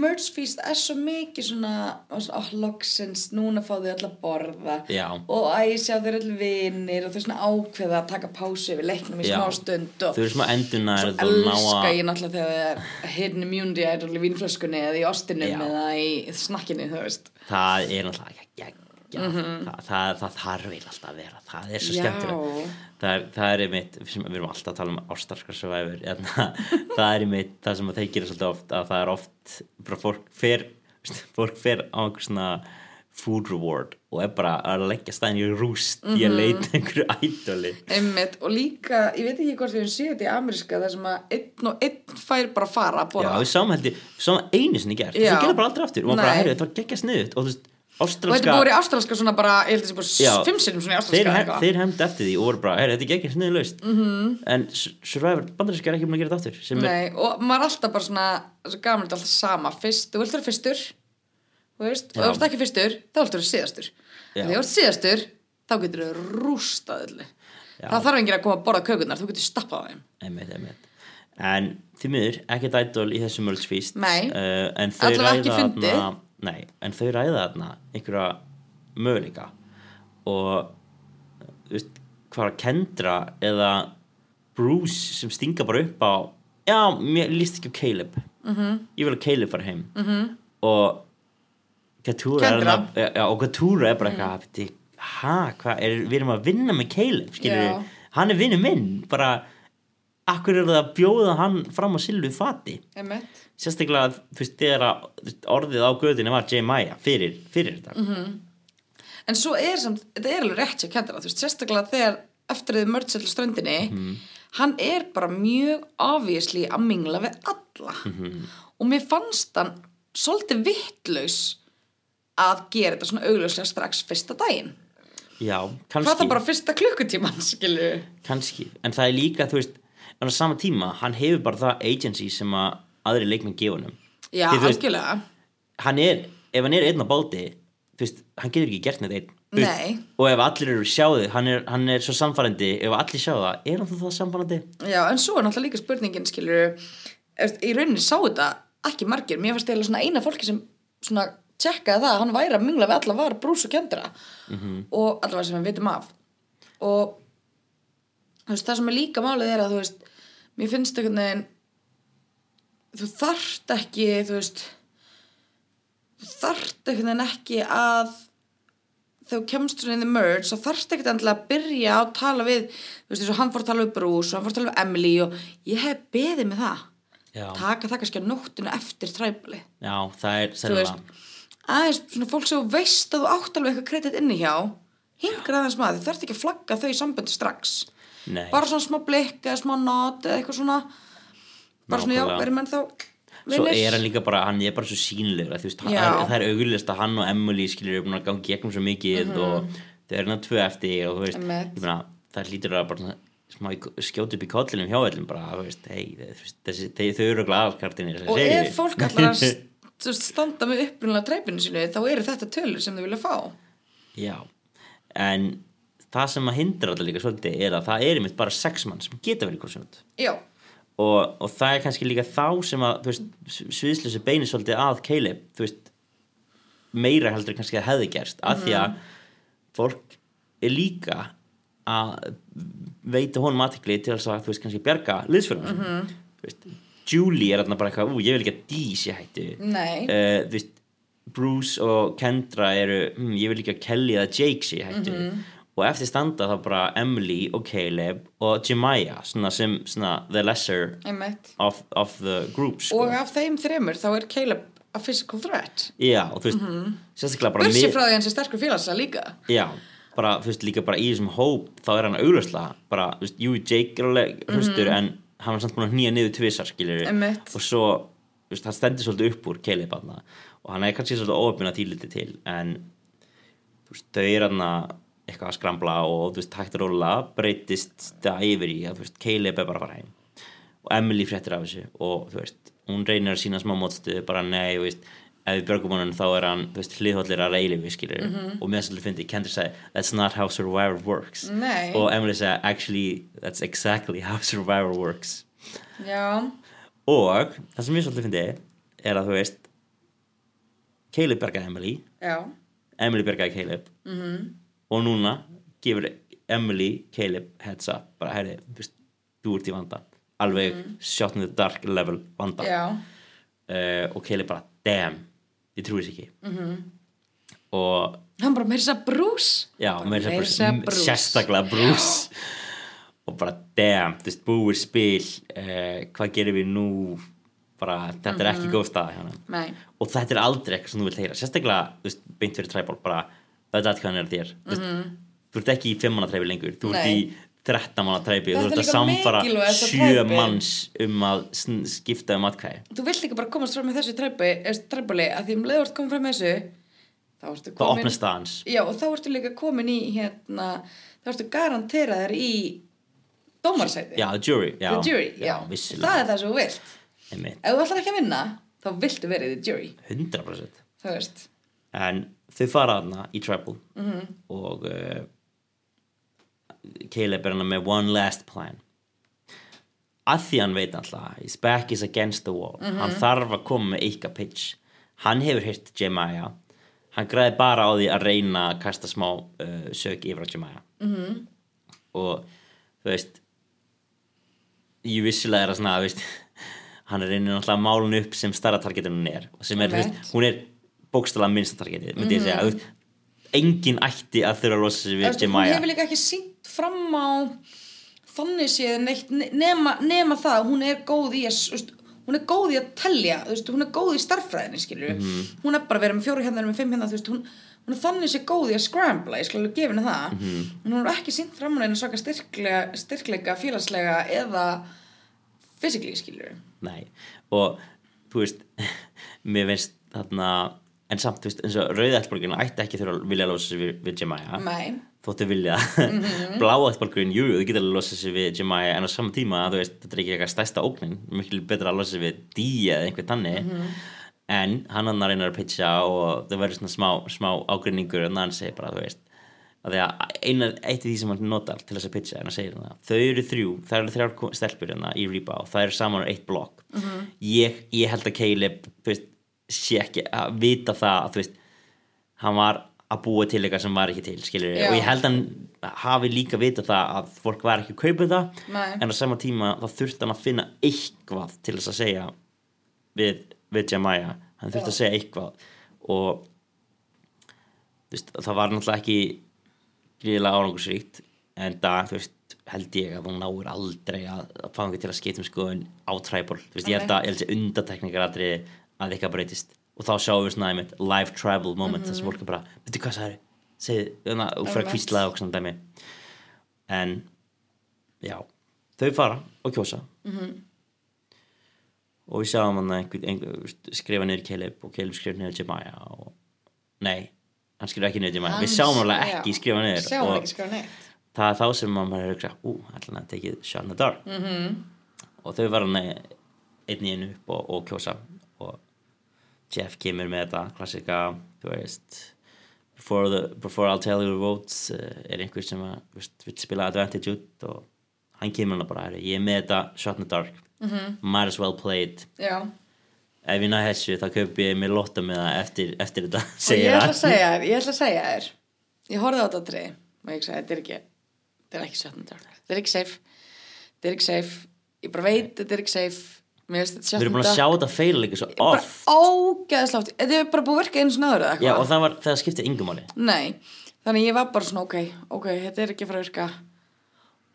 merge feast er svo mikið svona, og svona oh, loksins, núna fá þau öll að borða
Já.
og að ég sjá þau öll vinir og þau svona ákveða að taka pásu yfir leiknum í
Já.
smá stund og
Þau eru smá enduna er
svo
þú ná
elska
að...
ég náttúrulega þegar það er hidden immunity er allir vínflöskunni eða í ostinum
Já.
eða í snakkinu, þú veist
Það er náttúrulega ekki ekki. það, það, það þarf eiginlega alltaf að vera það er svo
Mhm. Já.
skemmtilegt það er, það er einmitt, sem, við erum alltaf að tala um ástarkar survivor en það er einmitt það sem þeir gera svolítið oft að það er oft bara fólk fer fólk fer á einhver svona food reward og er bara að leggja stæðin í rúst í
Mhm.
að leita að einhverju ædoli
Einmitt, og líka, ég veit ekki hvort við höfum séð þetta í ameríska þar sem að einn og einn fær bara að fara að
Já,
borða
við sáum heldur, sáum einu sinni gert og
Já.
svo gera bara aldrei aftur og maður bara,
Nei.
herru, þetta var geggja sniðut og þú veist,
og þetta
ástralska
er búið í ástralska svona bara, ég held að þetta
Já.
er bara fimm sinnum svona í ástralska
þeir,
eða
hef,
eitthvað. Mhm.
þeir hefndi eftir því og voru bara, er þetta er ekki ekki sniðið laust -hmm. en S- Survivor bandaríska er ekki búin að gera þetta aftur sem er,
Nei, og maður er alltaf bara svona svo gamlega er alltaf sama, fyrst, þú vilt vera fyrstur þú veist, og
Já.
þú ert ekki fyrstur þá vilt vera síðastur
Já.
en þegar þú ert síðastur, þá getur þú rústað öllu
Já.
það þarf enginn að koma að borða kökunar þú getur stappað á þeim
einmitt, einmitt en því miður, ekkert ædol í þessu mörgsfíst
Nei.
uh, en þau
Allavega ekki
ræða
fundið.
þarna- nei, en þau ræða þarna einhverja möguleika og þú veist, hvað að kendra eða Bruce sem stinga bara upp á já, mér líst ekki á Caleb
Mhm.
-hmm. ég vil að Caleb fara heim -hmm. og Katúra er
Kendra.
hana, já, og Katúra er bara eitthvað mm. ha, hvað, er, við erum að vinna með Caleb skilur
Já.
hann er vinnu minn bara, akkur er það að bjóða hann fram á Silvi Fati
Einmitt.
sérstaklega, þú veist, þegar að þú veist, orðið á göðinu var J.Maya fyrir, fyrir þetta
Mhm.
mm -hmm.
en svo er samt, þetta er alveg rétt sér kendara, þú veist, sérstaklega þegar eftir þið mördsell ströndinni
Mhm.
hann er bara mjög obviously að mingla við alla
Mhm.
og mér fannst hann svolítið vittlaus að gera þetta svona augljóslega strax fyrsta daginn
já,
hvað
kannski
það bara fyrsta klukkutíman skilju
kannski, en það er líka, þú veist en á sama tíma, hann hefur bara það agency sem að aðri leikmenn gefa honum
já,
Því, þú veist,
algjörlega
hann er, ef hann er einn á báti þú veist, hann getur ekki gert neitt einn þú veist,
Nei.
og ef allir eru sjáðu hann er, hann er svo samfærandi, ef allir sjáðu það er hann þá það samfærandi?
já, en svo er náttúrulega líka spurningin skilju í rauninni sá þetta ekki margir mér fannst eða svona eina fólki sem svona tjekkaði það að hann væri að mingla við alla var brús og kjöndra og allavega sem við vitum af og þú veist, það sem er líka málið er að þú veist, mér finnst einhvern veginn þú þarft ekki þú veist þú þarft einhvern veginn ekki að þegar þú kemst svona in the merge þá þarft ekkert endilega að byrja á að tala við þú veist, eins og hann fór að tala við Bruce og hann fór að tala við Emily og ég hef beðið með það
Já.
taka það kannski á nóttinu eftir træfli
já, það er
þú
sennilega
veist, aðeins svona fólk sem þú veist að þú átt alveg eitthvað kredit inni hjá hingra aðeins maður, þú þarft ekki að flagga þau í samböndi strax
Nei,
bara svona smá blikk eða smá not eða eitthvað svona bara svona já,
Nákvæmlega.
verið menn þá
svo er hann líka bara, hann er bara svo sýnilegur að þú veist, hann,
Já.
það er auglist að hann og Emily skilur eru búin að gangi gegnum svo mikið og þau eru hann tvö eftir og þú veist,
Mhm. Einmitt.
ég meina, það hlýtur að bara svona smá í- skjóta upp í kollinum hjá öllum bara, þú veist, hei, þú veist, þessi, þau, þau eru glaðarkartinir
og ef fólk allar að st- þú veist, standa með upprunlega dreipinu sínu þá eru þetta tölur sem þau vilja fá
Já, en það sem að hindra þetta líka svolítið er að það er einmitt bara sex mann sem geta verið korsjónd
já,
og, og það er kannski líka þá sem að þú veist, sviðslösi beinir svolítið að Caleb, þú veist meira heldur en kannski að hefði gerst af því að fólk er líka að veita honum aðtekli til þess að þú veist kannski bjarga liðsfjörnum mm -hmm. Julie er þarna bara eitthvað, ú ég vil ekki að Dís ég hætti
nei
uh, þú veist, Bruce og Kendra eru hm, ég vil líka Kelly eða Jake sé í hættu
Mhm.
og eftir standa þá bara Emily og Caleb og Jemiah svona sem svona the lesser
einmitt
of, of the group sko.
og af þeim þremur þá er Caleb a physical threat
já og þú veist sérstaklega bara
börsi
mið-
Mhm. frá því hans er sterkur félagslega líka
já bara þú veist líka bara í þessum hóp þá er hann augljóslega bara þú veist jú Jake er alveg hlustur en hann var samt búin að hnýja niður tvisar skilur
Mhm. Einmitt.
og svo þú veist, hann stendur svolítið upp úr Caleb aðna og hann er kannski svolítið óöfn að tíliti til en þú veist, þau er aðna eitthvað að skrambla og þú veist, hægt að róla breytist það yfir í að þú veist, Caleb er bara að fara heim og Emily fréttir af þessu og þú veist, hún reynir að sína smá mótstuð bara nei, þú veist, ef við björgum honum þá er hann, þú veist, hliðhóllir að reyli við skilur og mér svolítið fyndi, Kendra sagði that's not how survivor works
Nei.
og Emily sagði actually, that's exactly how survivor works
já,
og það sem ég svolítið fyndi er að þú veist Caleb bergaði Emily
já,
Emily bergaði Caleb -hmm.
Mhm.
og núna gefur Emily Caleb heads up bara herri, þú veist, þú ert í vanda alveg mm shot in the dark level vanda
Mhm. já
uh, og Caleb bara damn, ég trúi þess ekki -hmm.
Mhm.
og
hann bara meira þess að brús
Já, meira
meira
að segja
segja
Bruce,
Bruce.
sérstaklega Bruce og bara damn, þú veist, búið spil eh, hvað gerum við nú bara, þetta er
Mhm.
ekki góð staða hérna
Nei.
og þetta er aldrei eitthvað sem þú vilt heyra sérstaklega, þú veist, beint fyrir træból bara, þetta er hvað hann er þér þú veist, þú ert ekki í fimmanna træfi lengur þú ert
Mhm. Nei.
í 13 manna træfi þú
Þetta er
ert að
líka
samfara
mikilvægasta
7
træpið.
manns um að sn- skipta um atkvæði
þú vilt ekki bara komast fram með þessu træbóli að því um leið leiðvart komið fram með þessu þá ertu
það
komin
opnast það hans
já, og þá ertu líka komin í hérna, þá ertu garanteraðar í dómarsæti
já, the jury, já,
the jury, já,
vissulega
það er það sem þú vilt
Einmitt,
ef þú ætlar ekki að vinna, þá viltu verið the jury
100%
þú veist,
en þau fara hana í Treble
Mhm.
og uh, Caleb er hana með one last plan að því hann veit alltaf his back is against the wall hann
Mhm.
þarf að koma með eitthvað pitch hann hefur hýrt Jemaya hann græði bara á því að reyna að kasta smá uh, sök yfir á Jemaya
Mhm.
og þú veist ég vissilega er að svona þú veist, hann er reynir náttúrulega að mála hann upp sem starra targetin hún er og sem er, þú veist,
Einmitt.
hún er bókstala minnsta targetið, myndi ég segja þú veist, engin ætti að þurfa að losa sig
Mhm. Þú
við
veist, hún
Jemaya
hefur líka ekki sínt fram á þannig séð neitt ne- nema, nema það, að hún er góð í að s- þú veist, hún er góð í að telja þú veist, hún er góð í starffræðinni, skilur
Mhm.
hún er bara að vera með fjóru hérna, með fimm hérna þú veist, hún, hún er þannig séð góð í að scrambla ég skilur alveg gefa henni það
Mhm.
en hún er ekki sínt fram á neina svaka styrklega, styrkleika félagslega eða fysikli, skilur
Nei, og þú veist, mér finnst þarna, en samt, þú veist, eins og rauðættborgurinn ætti ekki þurfa að vilja að losa sig við, við Jemaya,
mæ,
þóttu vilja mm -hmm. bláættborgurinn, jú, þú getur að losa sig við Jemaya, en á sama tíma, þú veist, þetta er ekki eitthvað stærsta ógnin, mikil betra að losa sig við Día eða einhvern tannig en hann hann reynar að pitcha og það verður svona smá, smá ágrinningur en hann segir bara, þú veist að því að eina, eitt af því sem hann notar til þess að pitcha en hann segir hann þau eru þrjú, það eru þrjár ko- stelpur hérna í Reba og það eru saman á eitt blokk ég, ég held að Caleb þú veist, sé ekki að vita það að þú veist, hann var að búa til eitthvað sem var ekki til skilur
Já.
og ég held hann hafi líka vita það að fólk var ekki að kaupa það
Nei.
en á sama tíma þá þurfti hann að finna eitthvað til þess að segja við, við Jamaya hann þurfti að segja eitthvað og þú veist, það var náttúrulega ekki gríðilega árangursvíkt en það, þú veist, held ég að hún náir aldrei að, að fanga til að skiptum skoðun á tribal, þú veist, ég held að, ég held að undatekningar aldrei að eitthvað breytist og þá sjáum við svona einmitt live tribal moment þar sem fólk er bara, veitir hvað það er segið, þannig að þú fyrir að
Einmitt.
kvísla hérna, og svona dæmi en já, þau fara og kjósa -hmm. og við sjáum hann að einhver, einhver, þú veist, skrifa niður Caleb og Caleb skrifa niður Jemaya og nei, hann skrifa ekki niður Jemaya við
Hans-
sjáum alveg
já.
ekki skrifa niður
sjáum
og-
ekki skrifa neitt
það er þá sem maður er að hugsa ú, allan að tekið Shot in the Dark -hmm.
Mhm.
og þau var hann einn í einu upp og, og kjósa og Jeff kemur með þetta klassika, þú veist before, the, before I'll tell you the votes eh, er einhver sem að, þú veist, vil spila advantage út og hann kemur hann bara "Herru, ég er með þetta Shot in the Dark -hmm.
Mhm.
might as well played
já.
ef ég næ þessu þá kaupi ég mér lotta með það eftir, eftir þetta
og ég
segir
ætla
hann.
að segja þér ég ætla að segja þér ég horfði á þetta tri og ég sagði þetta er ekki þetta er ekki sjötnundar þetta er ekki safe þetta er ekki safe ég bara veit þetta er ekki safe mér finnst þetta
við erum búin að sjá
sjötnundar
þetta feila líka svo
bara
oft
ógeðslátt þetta er bara búið að virka eins og náður
já,
eða eitthvað
og það, var, það skipti yngumáli
Nei, þannig ég var bara svona ok, ok, þetta er ekki að fara að virka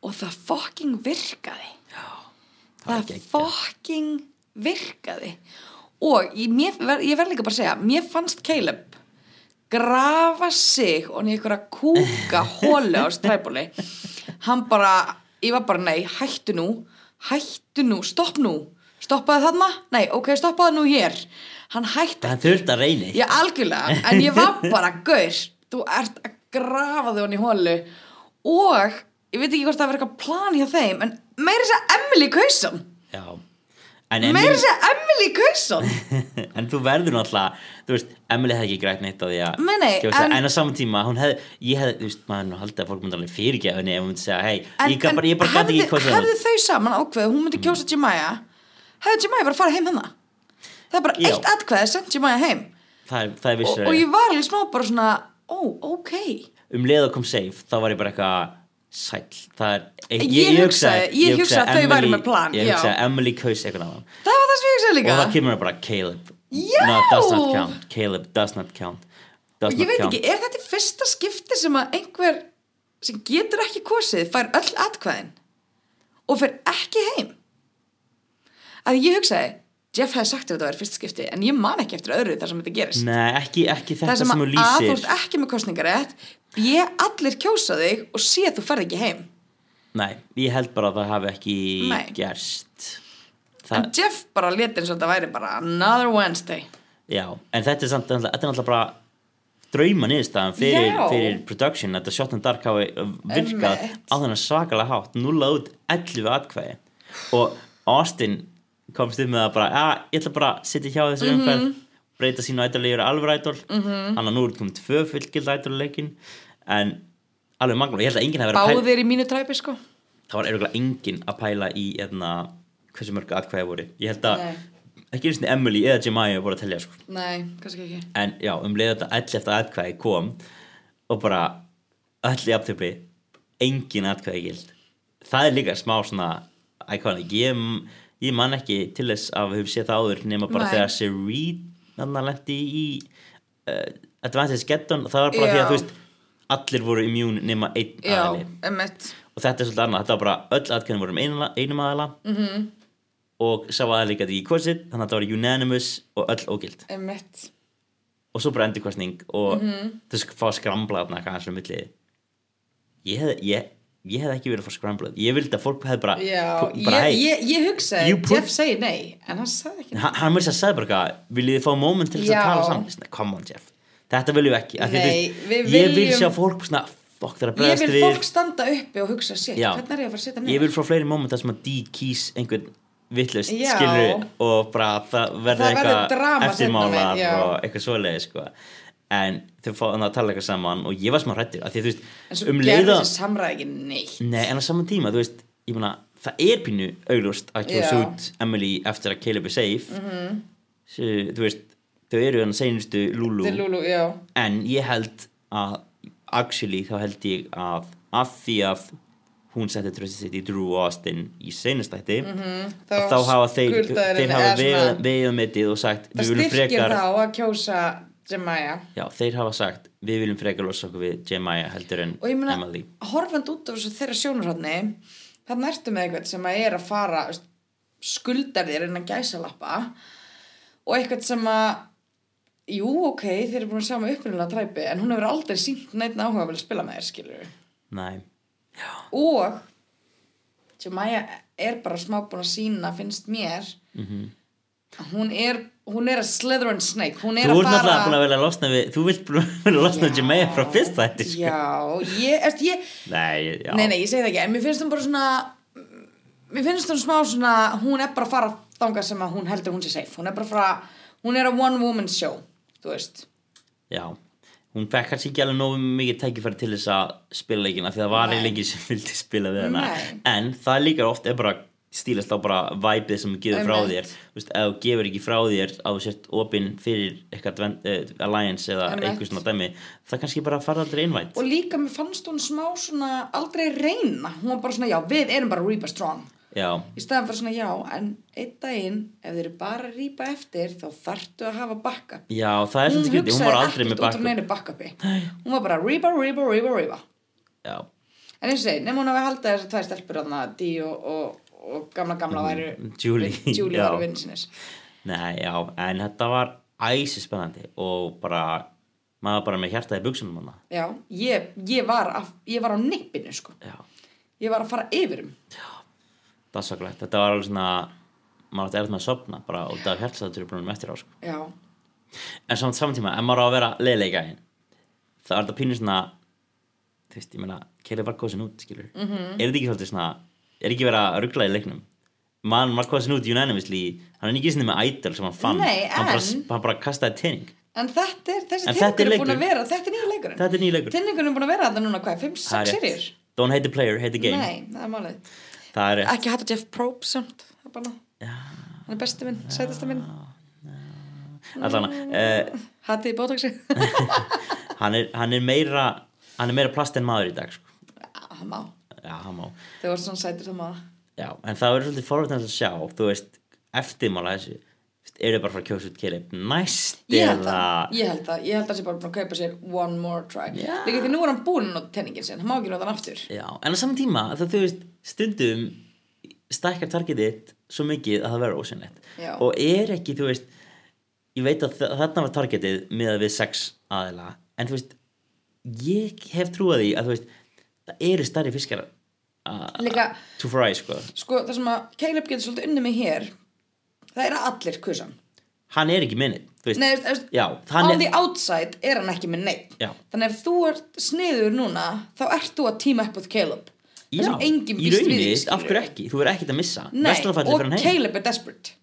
og það fucking virkaði Já,
var
það,
geggjað.
fucking virkaði og ég, mér, ver, ég verð líka bara að segja mér fannst Caleb grafa sig og niður ykkur að kúka hólu á stræbóli hann bara, ég var bara nei, hættu nú, hættu nú stopp nú, stoppaði þarna nei, ok, stoppaði nú hér hann hætti
hann þurfti að reyni
Já, algjörlega, en ég var bara gaur, þú ert að grafa þau hann í hólu og ég veit ekki hvort það var eitthvað plan hjá þeim en meira þess að Emily Kauson
Já En,
meira
Emily,
þess að Emily Kauson
en þú verður náttúrulega þú veist, Emily hefði ekki grætt neitt á því að
Nei, nei,
kjósa, en,
en-
á saman tíma hún hefði, ég hefði, þú veist, maður nú haldið að fólk myndi alveg fyrirgefa henni ef hún myndi segja, hei, ég, gat bara, ég bara gæti ekki hvað
hefðu þau saman ákveðu, hún myndi kjósa Jemaya hefðu Jemaya bara farið heim hennar það er bara
Já.
eitt atkveði sendt Jemaya heim
það er, það er
og,
vissur
og ég var alveg smá bara svona ó, ok
um leið og kom safe, þá var ég bara eitthvað sæll, það er
Ég hugsaði- ég hugsaði að þau væru með plan,
ég
já.
hugsaði að Emily kaus eitthvað annan
það var það sem ég hugsaði
og
líka
það kemur bara Caleb
Já!
no, does not count, Caleb does not count does
ég
not
veit
count.
ekki, er þetta í fyrsta skipti sem að einhver sem getur ekki kosið fær öll atkvæðin og fer ekki heim að ég hugsaði Jeff hefði sagt ef þetta var fyrsta skipti en ég man ekki eftir öðru þar sem þetta gerist
nei, ekki, ekki þetta
það sem
sem
að
hún
A, þú
lýsir
ert ekki með kosningarétt B, allir kjósa þig og C, þú ferð ekki heim
Nei, ég held bara að það hafi ekki
Nei.
gerst
en
það,
Jeff bara leti eins og þetta væri bara another Wednesday
Já, en þetta er samt þetta er náttúrulega bara drauma niðurstaðan fyrir,
Já.
fyrir production þetta Shot and Dark hafi virkað
Einmitt.
á þennan svakalega hátt, núla út 11 atkvæði og Austin komst upp með það bara að ég ætla bara að sitja hjá þessu
Mhm.
umferð breyta sínu ædoli yfir alveg ædol mm -hmm. annar nú er komið tvö fullgild ædolleikin en alveg magnum ég held að enginn hafi verið að pæla-
báðir í mínu træpi sko
það var örgulega enginn að pæla í eðna, hversu mörg atkvæði voru ég held að
Nei.
ekki eins og Emily eða Jemaya voru að telja sko.
nei, kannski ekki
en já, um leið þetta 11 atkvæði kom og bara öll í aftöpi engin atkvæði gild það er líka smá svona iconic ég, ég man ekki til þess að við höfum séð það áður nema bara
Nei.
þegar Serene þannig lendi í uh, Advantage Geddon það var bara því
Já.
að þú veist allir voru immune nema einn
já,
aðli
emmitt
og þetta er svolítið annað, þetta var bara öll atkvæðin voru um einum, einum aðala -hmm.
Mhm.
og sá aðeins gæti ekki kosið þannig að þetta var unanimous og öll ógild
emmitt
og svo bara endurkostning og mm -hmm.
Mhm.
þau sk- fá skramblað þarna kannski um milli ég hefði ég, ég hef ekki verið að fá skramblað ég vildi að fólk hefði bara,
Já,
bara
ég,
hey,
ég, ég hugsaði
You put-
Jeff segi nei, en hann sagði ekki nei.
hann hann mér sér að sagði bara eitthvað, viljið þið fá moment til þess
Já.
að tala saman Svona, come on Jeff, þetta viljum við ekki Af því, þú
Nei,
veist,
við
ég vil
viljum-
sjá fólk svona, fokk þeirra
Ég
bregðast
vil
við
fólk standa uppi og hugsa sér,
Já.
hvernig er ég að fara að setja
ég
mig?
vil frá fleiri mómentar sem að D kýs einhvern vittlust
Já.
skilur og bara það verður
Það verður drama
eitthvað
seinna meir,
eftirmálar
já.
og eitthvað svoleiði sko. en þau fá hann að tala eitthvað saman og ég var smá hrættur af því að þú
En
veist
svo um gerði
leiða-
þessi samræði ekki neitt.
nei en á saman tíma þú veist ég meina það er pínu auglust að kjósa
Já. Mhm.
út Emily eftir að Caleb er safe mm -hmm. þú veist þau eru hann seinustu Lulu
Til Lulu, já.
en ég held að actually þá held ég að af því að hún setti tröstið sitt í Drew Austin í seinastætti mm -hmm.
Mhm. þá
þá hafa þeir,
skuldaði henni
þeir hafa
eða
vegið,
svona-
vegið metið og sagt
það
við viljum
styrkir
frekar
þá að kjósa Jemaya
já, þeir hafa sagt við viljum frekar losa okkur við Jemaya heldur en
og ég meina,
Emily
horfand út af þessu þeirra sjónurhóðni þannig ertu með eitthvað sem að er að fara veist, skuldar þér innan gæsalappa og eitthvað sem að jú, ok, þeir eru búin að sjá með upprunalega træpi en hún hefur aldrei sínt neitt áhuga að vilja spila með þér, skilur
Nei.
og sem að er bara smá búin að sína finnst mér
Mhm.
að hún er hún er að Slytherin Snake hún er
þú ert
að
náttúrulega búin
fara
að velja að losna við þú vilt búin að velja að losna við Jemaya frá fyrst þætti sko.
já, ég, eftir, ég,
nei, já,
nei, nei, ég segi það ekki en mér finnst hún bara svona mér finnst hún smá svona hún er bara að fara þangað sem að hún heldur hún sé safe hún er bara að fara hún er að one woman show þú veist
já hún fekk kannski ekki alveg nógu mikið tækifæri til þess að spila leikina því það var
Nei.
eiginlega enginn sem vildi spila við hana
Nei.
en það líka oft er bara stílast á bara væpið sem þú gefur frá
Einmitt.
þér þú veist, ef þú gefur ekki frá þér á sért opinn fyrir eitthvað dven, uh, alliance eða
Einmitt.
einhvers svona dæmi það kannski bara fara aldrei einvænt
og líka mér fannst hún smá svona aldrei reyna hún var bara svona já við erum bara Reba Strong
já,
í staðan fyrir svona já en einn daginn ef þeir eru bara að rýpa eftir þá þarftu að hafa bakka
já, það er svona skrítið hún var aldrei með
út úr
bakum
neinu bakkapi hún var bara rýpa, rýpa, rýpa, rýpa
já,
en eins og segi, nema hún hafi haldið þessar tvær stelpur þarna, Dí og, og, og gamla gamla væru
Mm, Julie,
Julie
já.
væru vinn sinnes
Nei, já, en þetta var æsi spennandi og bara maður bara með hjartaði buksunum hana
já, ég, ég, var af, ég var á nippinu sko.
já,
ég var að fara yfir um
það er saklegt, þetta var alveg svona maður átti erfitt með að sopna bara út af hjartaðatröflunum eftir á sko.
já,
en samt saman tíma, ef maður á að vera leiðleika einn þá er þetta pínu svona þú veist, ég meina, Kelly var kosin út skilur,
Mhm.
-hmm. er þetta ekki svolítið svona er ekki verið að ruggla í leiknum mann var kosin út unanimously hann er ekki sinni með idol sem hann fann
Nei,
hann, bara,
en-
hann bara kastaði tenning
en þetta er þessi
En þetta er
tinningur er búin
leikurinn.
að vera þetta er nýja leikurinn,
þetta er nýja leikur
tinningur er búin að vera þetta núna hvað, 5-6
Það er rétt.
serjur
don't hate the player, hate the game
nei, það er málið
það er rétt.
ekki hætta Jeff Probst samt það er bara hann er besti minn, sætasta minn
allan
mm.
uh,
hætti í bótóksi
hann, er, hann er meira hann er meira plast en maður í dag sko.
hann Ah, má,
já, hann má
þau voru svona sætir það má það.
já, en það verður svolítið forvitnast að sjá þú veist, eftirmála þessu Þú veist, eru bara frá kjósut Caleb næst
ég
eða-
held það, ég held það, ég held það sé bara búin að kaupa sér one more try
Já.
líka því nú er hann búin að nota tenningin sinn hann má ekki nota hann aftur
já, en á saman tíma það þú veist, stundum stækkar targetið svo mikið að það verður ósynlegt
Já.
og er ekki, þú veist ég veit að þa- þarna var targetið með við sex aðila en þú veist, ég hef trúið því að þú veist, það eru stærri fiskar að-
líka,
to fry, sko
sko það sem að Caleb getur svolítið unni mig hér það er að allir kusan
hann er ekki minnið, þú veist
Nei, þú veist,
já,
on
hann er,
the outside er hann ekki með neitt
Já.
þannig ef þú ert sniður núna þá ert þú að team up with Caleb
já,
það sem enginn
í
býst við
rauninni,
því, skilurðu.
af hverju ekki þú er ekkert að missa,
Nei,
vestlafallið
og
fyrir hann heim
Caleb er desperate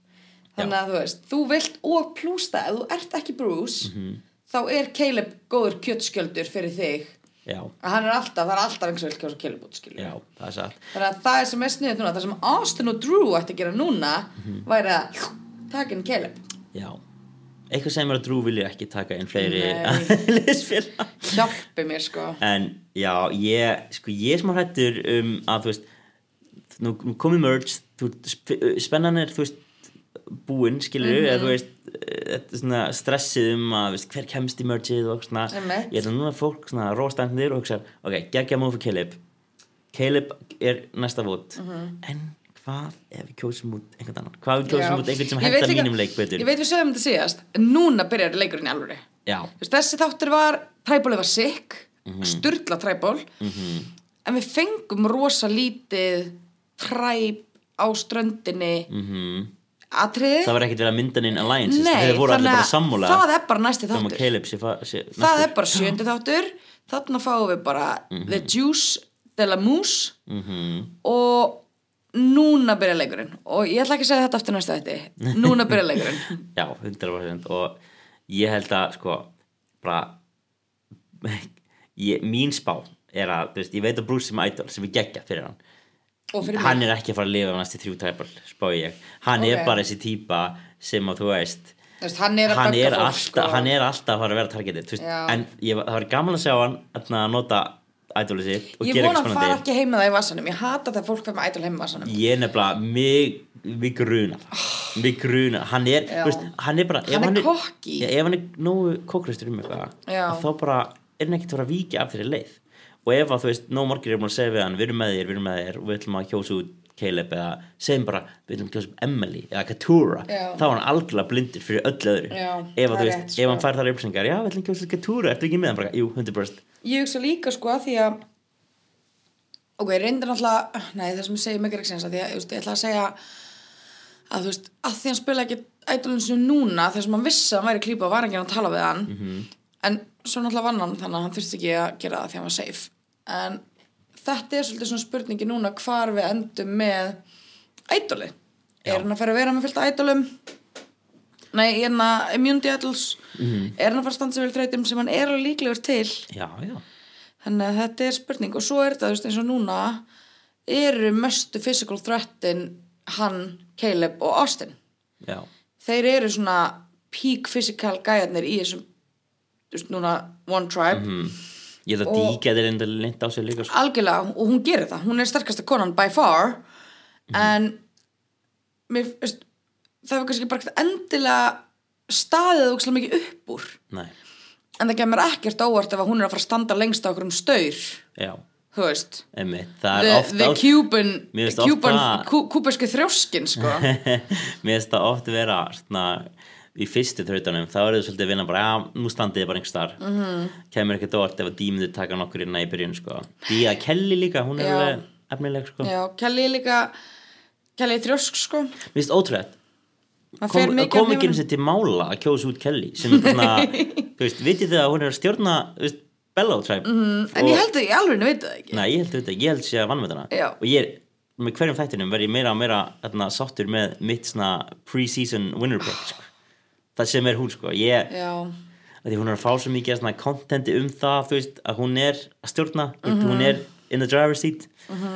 þannig að þú veist, þú vilt og plús það ef þú ert ekki Bruce
Mhm.
þá er Caleb góður kjötskjöldur fyrir þig
já,
að hann er alltaf, það er alltaf eins og vil kjósa Caleb út skilur
já, það er satt
þannig að það er sem er sniðið núna það sem Austin og Drew ætti að gera núna
Mhm.
væri að taka inn Caleb
já, eitthvað sem er að Drew vilja ekki taka inn fleiri
Nei.
liðsfélag
hjálpi mér sko
en já, ég sko, ég er smá hættur um að þú veist, nú, nú komið merge þú, sp- spennan er, þú veist búinn, skilur
Mhm.
eða þú veist, eh, þetta er svona stressið um að þú veist, hver kemst í mergeið og svona
Einmitt.
ég held að núna fólk svona róstandir og hugsa ok, geggja móð fyrir Caleb Caleb er næsta vót en hvað ef við kjósum út einhvern annan, hvað ef við kjósum
Mhm. Já.
út einhvern sem
Ég veit
hættar
líka-
mínum leik betur
ég veit við sögum þetta síðast, en núna byrjar leikurinn í alvöru
já,
Þú veist, þessi þáttur var træbólið var sick,
Mhm.
mm sturla træból en við fengum rosa lítið træb á ströndinni mm atriði
Mhm. það var ekkert verið að mynda inn alliance,
Nei,
þeir voru allir
þannig
bara
að
sammála
það er bara næsti
um að
þáttur
Caleb sé, fa- sé
það
næstur.
er bara sjöndi þáttur þarna fáum við bara
Mhm.
the juice de la mousse og núna byrja leikurinn og ég ætla ekki að segja þetta aftur næsta þetta núna byrja leikurinn
Já, 100% og ég held að sko bara ég, mín spá er að þú veist, ég veit að Bruce sem idol sem er geggja fyrir hann
og fyrir
hann
mig,
er ekki að fara að lifa næstu þrjú tæpal spá ég, hann
Ok.
er bara þessi típa sem að þú veist
Þú veist, hann er að
hann
bögga
er,
fólk,
alltaf,
sko.
hann er alltaf að fara að vera targetið þú veist,
Já.
en ég, það var gaman að sjá hann þarna að nota ædolið sitt og
Ég
gera eitthvað
vona að fara
spennandi
ekki heim með það í vassanum Ég hata þegar fólk fer með ædol heim með vassanum
ég er nefnilega mig, mig gruna mig gruna, hann er,
Já.
þú veist, hann er bara ef
Hann er kokki.
já, ef hann er nógu kokkristur um eitthvað
Já.
að þá bara er hann ekkert að fara að víkja af þeirri leið og ef að þú veist, nóg margir er búin að segja við hann við erum með þér, við erum með þér og við ætlum að kjósa út Caleb eða segjum bara við ætlum að kjósa út Emily eða Katura
Já.
þá er hann algjörlega blindur fyrir öll öðru
Já,
ef, að,
það er
þú veist,
rétt,
ef
sko.
hann fær þar upplýsingar já, við ætlum að kjósa út Katura, ertu ekki með hann bara, jú, 100%
Ég hugsa líka sko að því að Ok, reyndir náttúrulega Nei, það sem ég segi mikið reksins Því að, þú veist, ég ætla að segja að þú veist, að því hann spila ekki ædolinn sem núna, þegar sem hann vissi að hann væri klípa og var ekki að tala við hann en svo náttúrulega vann hann þannig að hann þurfti ekki að gera það því hann var safe en þetta er svolítið svona spurningi núna hvar við endum með ædoli
Já.
er hann að fara að vera með fullt af ædolum nei, er hann að immunity idols er hann að fara að standa sig vel þreytum sem hann er alveg líklegur til
já, já,
þannig að þetta er spurning og svo er þetta, þú veist, eins og núna eru möstu physical threatin hann, Caleb og Austin
já,
þeir eru svona peak physical gæjarnir í þessum þú veist núna One Tribe
ég ætla að
Og- Ah!
díka þeir enda linda á sig líka sko.
algjörlega og hún gerir það, hún er sterkasta konan by far en mér, veist, það var kannski bara ekkert endilega staðið ógislega mikið upp úr
nei,
en það kemur ekkert óvart ef að hún er að fara að standa lengst á okkur um staur
já,
þú veist
einmitt það er
the,
oft
the
á-
Cuban,
Mér finnst
Cuban
ofta-
kú, kúbeski þrjóskin sko
mér finnst það oft vera svona, í fyrstu þrautunum þá er þau svolítið að vinna bara, já, nú standið þið bara einhver starf mm
Mhm.
-hmm. kemur ekkert óvart ef að dýmyndu taka nokkur inn í byrjun, sko Día Kelly líka, hún er
Já.
alveg efnileg, sko mér
já, Kelly er líka Kelly er þrjósk sko
finnst ótrúlega
Það fer
kom,
mikið
kom
af
ekki
hnefanum.
eins og til mála að kjósa út Kelly sem er bara svona, þú veist, vitið þið að hún er að stjórna þú veist, Bellow Tribe mm,
Mhm. En ég held að ég alveg veit það ekki
Nei, ég held þetta, ekki, ég held sé að vann með
Já.
hana og ég er, með hverjum þættinum verð ég meira og meira þarna, sáttur með mitt svona pre-season winner pick sko. það sem er hún sko ég,
Já,
að því hún er að fá svo mikið af svona contenti um það, þú veist, að hún er að stjórna, mm
Mhm.
hún er in the driver's seat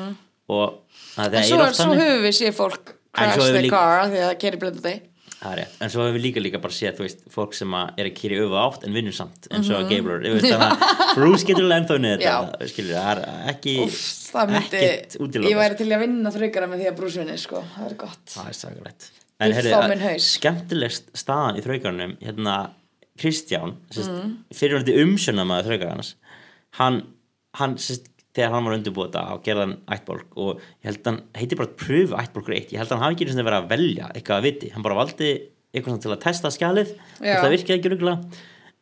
og að
en
það
svo,
er oft
svo
þannig
höfum við séð fólk
svo
crash
hefur
the
líka-
car af því að það kerir blendandi
Það er rétt, en svo hefur við líka líka bara séð, þú veist, fólk sem að er að kýri öfu átt en vinnur samt, eins
Mhm.
og mm -hmm. Gablor, þú veist, þannig að Bruce getur alveg ennþá unnið þetta, skilur, það er ekki,
Úff, það myndi,
ekkert útilokað,
ég væri til í að vinna þrjökara með því að brúsvinni sko, það er gott
Það er sakalegt
Í fáminn haus.
skemmtilegst staðan í þraukarnum hérna Kristján mm. fyrirvændi umsjónamaður þraukarnas hann, hann sérst, þegar hann var undirbúta á gerðan ættbólk og ég held hann heiti bara pröfu ættbólkur eitt ég held hann hafi ekki einu sinni verið að velja eitthvað að viti hann bara valdi eitthvað svona til að testa skjalið og
Já.
það virkaði ekki ruggulega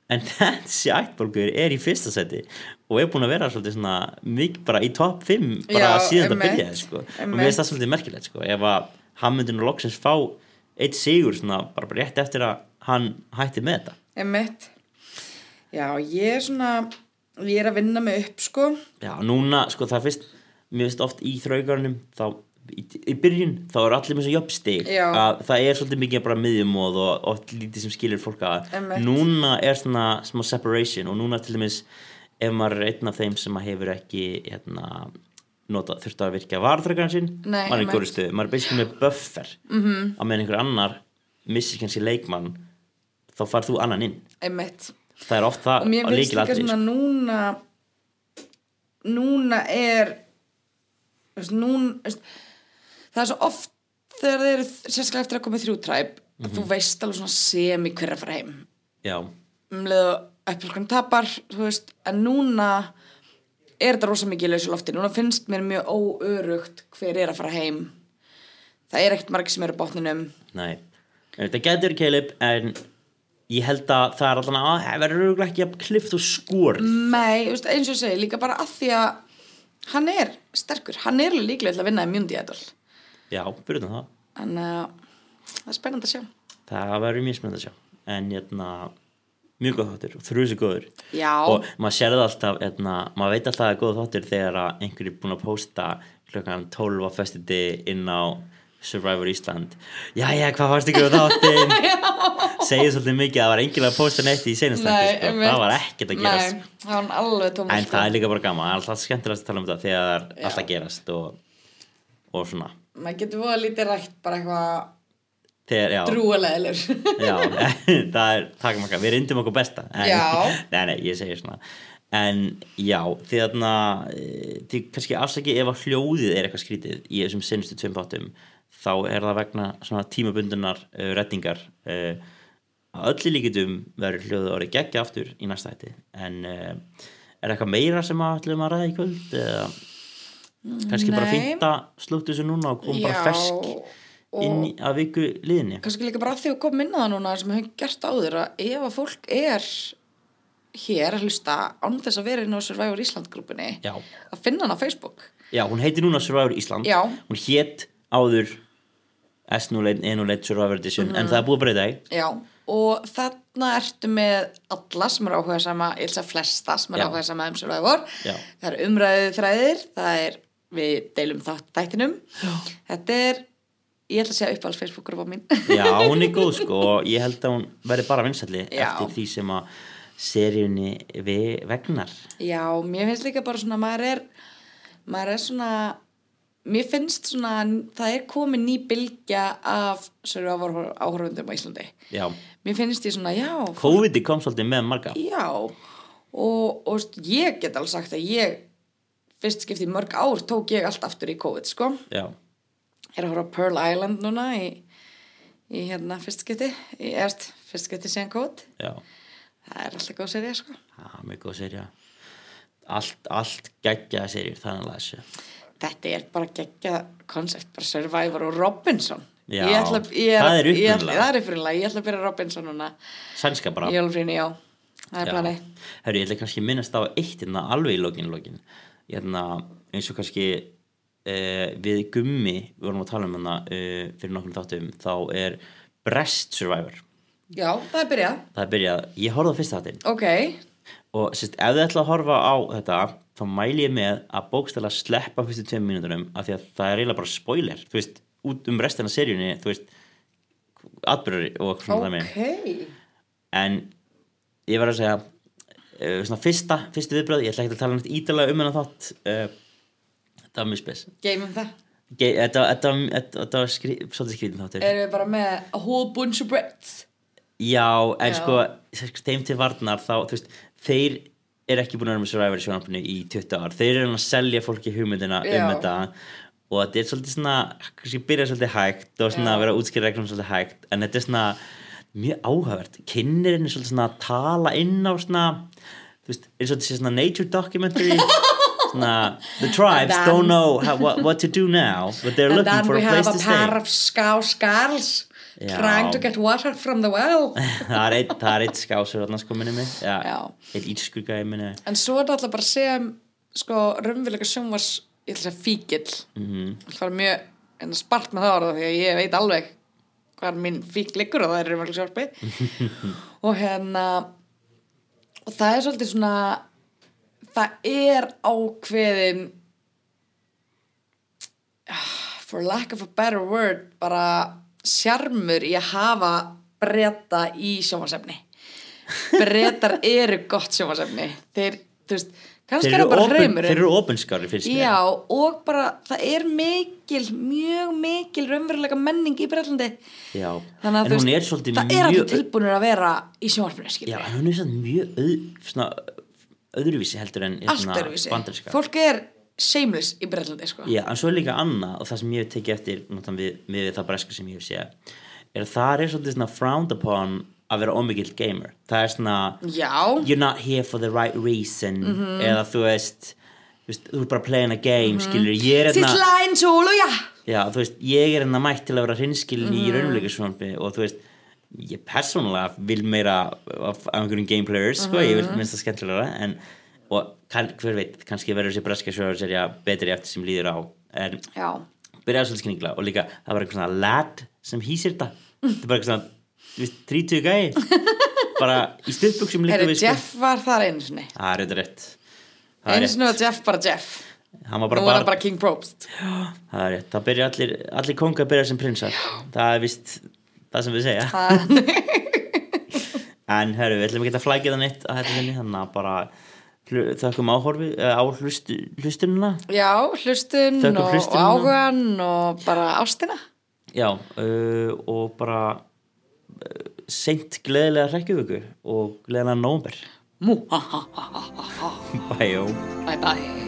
en þessi ættbólkur er í fyrsta seti og er búin að vera svolítið svona mikið bara í topp 5 bara
Já,
síðan þetta
einmitt,
byrjaði sko. og
einmitt.
mér finnst það svolítið merkilegt sko, ef að hann myndi nú loksins fá eitt sigur svona bara rétt eftir að hann hætti með þetta
Emmett Já, ég er svona, ég er að vinna mig upp sko
já, núna, sko, það fyrst mér finnst oft í þraugarnum þá, í, í byrjun, þá er allir með svo jöfnstig
Já.
að það er svolítið mikið bara miðjumóð og oft lítið sem skilur fólk að
Einmitt.
núna er svona smá separation og núna til dæmis ef maður er einn af þeim sem að hefur ekki hérna, nota, þurft að virka varðröggarn sinn,
Nei,
maður er í
einmitt. Mhm.
góri stöðu maður er basically með buffer -hmm. að meðan einhver annar missir kannski leikmann þá farð þú annan inn
Emmett
það er oft það sko.
og mér
á
finnst líka
lykilatriði,
svona núna núna er þú veist, núna, þú veist, það er svo oft þegar þeir eru sérstaklega eftir að koma í þrjú træp að þú veist alveg svona semi hver er að fara heim
sko. já,
um leðu eppilkunum tapar þú veist, en núna er þetta rosa mikið í lausu lofti núna finnst mér mjög óörugt hver er að fara heim það er ekkert margir sem eru á botninum
Nei, En þetta getur Caleb en ég held að það er allan að það verður örugglega ekki að klift og skor
Nei, þú veist, eins og ég segi, líka bara að því að hann er sterkur, hann er alveg líklega til að vinna í mjöndi idol
Já, fyrir utan það
en uh, það er spennandi að sjá
það verður mjög spennandi að sjá en hérna, mjög góð þáttur og þrjúsi góður
Já.
og maður sér það alltaf, hérna, maður veit alltaf að það er góð þáttur þegar að einhverju er búin að posta klokkan 12 á föstuti inn á Survivor Ísland Jæja, hvað varst ykkur á þáttin? Segir svolítið mikið að það var enginn að posta neitt í senastætti sko. það var ekkert að gerast
Nei, það var alveg sko. tóma
En það er líka bara gaman, það er alltaf skemmtilegast að tala um þetta þegar það er alltaf að gerast og, og svona
maður getur voða lítið rætt bara eitthvað
þegar, já,
drúaleðilegur
já það er takmarka, við reyndum okkur besta en,
Já.
nei, nei, ég segi svona en já, því þarna eh, því kannski afsaki ef að hljóðið er eitthvað skrítið í þessum sinnustu tveim bátum þá er það vegna svona tímabundunar uh, rettingar uh, að öllu líkitum verður hljóðið orðið geggja aftur í næsta hætti en uh, er eitthvað meira sem að ætlum að ræða í kvöld eða kannski bara
Nei.
fynda slútt þessu núna og kom bara
Já,
fersk inn í, að viku liðinni
kannski líka bara af því að koma inn á það núna sem við höfum gert áður að ef að fólk er hér að hlusta án þess að vera inn á Survivor Ísland grúpunni
já
að finna hann á Facebook
Já, hún heitir núna Survivor Ísland
Já.
Hún hétt áður S01, 01 Survivor Edition
Mhm.
En það er búið að breyta í
Já, og þarna ertu með alla sem er áhuga sama, ég ætla að flesta sem er
Já.
áhuga sama um Survivor.
Já.
Það er umræðið þræðir, það er, við deilum þátt þættinum. Já. Þetta er, ég ætla að segja uppáhalds Facebook-grúpa mín.
Já, hún er góð sko Og ég held að hún verði bara vinsælli
Já.
Eftir því sem að seríunni við vegnar
Já, mér finnst líka bara svona, maður er, maður er svona, mér finnst svona, það er komin ný bylgja af Survivor áhugundum á Íslandi.
Já,
Mér finnst ég svona, já,
COVID kom svolítið með marga
Já, og, og veist, ég get alveg sagt að ég fyrst skipti í mörg ár tók ég allt aftur í COVID, sko.
Já,
Ég er að horfa á Pearl Island núna í, í hérna fyrst skipti, í erst fyrst skipti síðan COVID.
já,
Það er alltaf góð serið, sko.
það er mjög góð serja Allt, allt geggjaða serjur Þannig að þessu
Þetta er bara geggja koncept, bara Survivor og Robinson.
Já,
Ég ætla, ég
það er
ég
upprunalega.
ætla- Það er upprunalega, ég ætla að byrja Robinson núna.
Sænska bara
Í Jólfrínu, já. Það er planið.
Hörru, ég ætla kannski að minnast á eitt hérna alveg í lokin lokin hérna, eins og kannski uh, við gummi, við vorum að tala um hérna uh, fyrir nokkrum þáttum, þá er Breast Survivor,
Já, það er byrjað.
það er byrjað ég horfði á fyrsta þáttinn
Ok,
og sérst, ef þið ætla að horfa á þetta þá mæli ég með að bókstæla sleppa fyrstu tveim mínútunum af því að það er eiginlega bara spoiler, þú veist, út um restina af seríunni, þú veist atbyrður og svona okay. dæmi
ok.
en ég verður að segja uh, svona fyrsta, fyrstu viðbröð ég ætla ekki að tala nætt ítalega um hennar þátt uh, þetta var mjög spes
Geimum það.
Ge- þetta þetta- þetta- þetta var skri, svolítið skrýtin þáttur
erum við bara með a whole bunch of brets
já, en
Já.
sko þeim til varnar þá, þú veist, þeir eru ekki búin að vera með Survivor í sjónarfinu í 20 ár þeir eru að selja fólki hugmyndina um
Já.
þetta og þetta er svolítið svona kannski byrja svolítið hægt og svona
Já.
vera útskýra reglum svolítið hægt en þetta er svona mjög áhugavert kynnerinn er svolítið svona að tala inn á svona þú veist, er svolítið sé svona nature documentary svona, the tribes
then-
don't know how, what, what to do now but they're
and
looking
then
for
we
a
have
place
a
to stay
pair of scow skulls
Já.
trying to get water from the well
það er eitt, það er eitt skásur annars sko minni mig,
Já.
já, eitt írskur gæði minni mig.
en svo er þetta alltaf bara sem sko raunveruleika sjónvars ég ætla að segja fíkil mm -hmm. það er mjög en að spart með það orða því að ég veit alveg hvað minn fík liggur og það er raunveruleika sjálfi og hérna og það er svolítið svona það er ákveðin ah, for lack of a better word bara sjarmur í að hafa breyta í sjómasefni breytar eru gott sjómasefni þeir, þú veist, kannski
þeir eru,
er það bara
opin,
hreimurinn
þeir eru opinskári fyrst mér.
Já, og bara það er mikil, mjög mikil raunverulega menning í Breitlandi
já.
þannig að
en
þú
hún
veist,
er svolítið
það er allir
mjög
tilbúinur að vera í sjónvarpinu
já,
skilur
en hún er svolítið mjög öð, svona, öðruvísi heldur en hérna,
allt öruvísi,
banderska
fólk er shameless í Breitlandi sko
Já, en svo er líka annað og það sem ég hef tekið eftir notan, við, við það bresku sem ég hef séð er að það er svolítið svona frowned upon að vera ómikið gamer það er svona,
Já.
you're not here for the right reason
Mhm.
eða þú veist, þú veist, þú er bara playing a game skilur, ég er hérna
Sýtlæn súlu, já
Já, þú veist, ég er hérna mætt til að vera hreinskilin
Mhm.
í raunleika og þú veist, ég persónulega vil meira af af einhverjum gameplayers, sko, ég
Mhm.
vil minnst það skemmtilega en, og kann, hver veit, kannski verður þessi breska sjóðarserja betri eftir sem líður á en
Já,
byrjaði svolítið skynningilega og líka það var einhver svona lad sem hýsir þetta það er bara einhver svona, þú veist, 30 gæi bara í stuðbuksum líka
Herru,
við, sko.
Jeff var þar einu sinni
það er auðvitað rétt það er
Einu
rétt,
sinni var Jeff bara Jeff
hann var
Nú
bara
var
barn
hann bara King Probst
Það er rétt, það byrja allir, allir kongar byrja sem prinsar Það er vist það sem við segja En hörru, við ætlum ekki að flækja það neitt að þetta sinni, þannig að bara hlu- þökkum áhorfi, eh, á hlust, hlustununa
Já, hlustun
Þökkum
og, og
hlustunina.
áhugan og bara ástina
já uh, og bara uh, seint gleðilega hrekkjuvöku og gleðilega nómer
Mú, ha, ha, ha, ha, ha, ha.
bæjó
Bye, bye.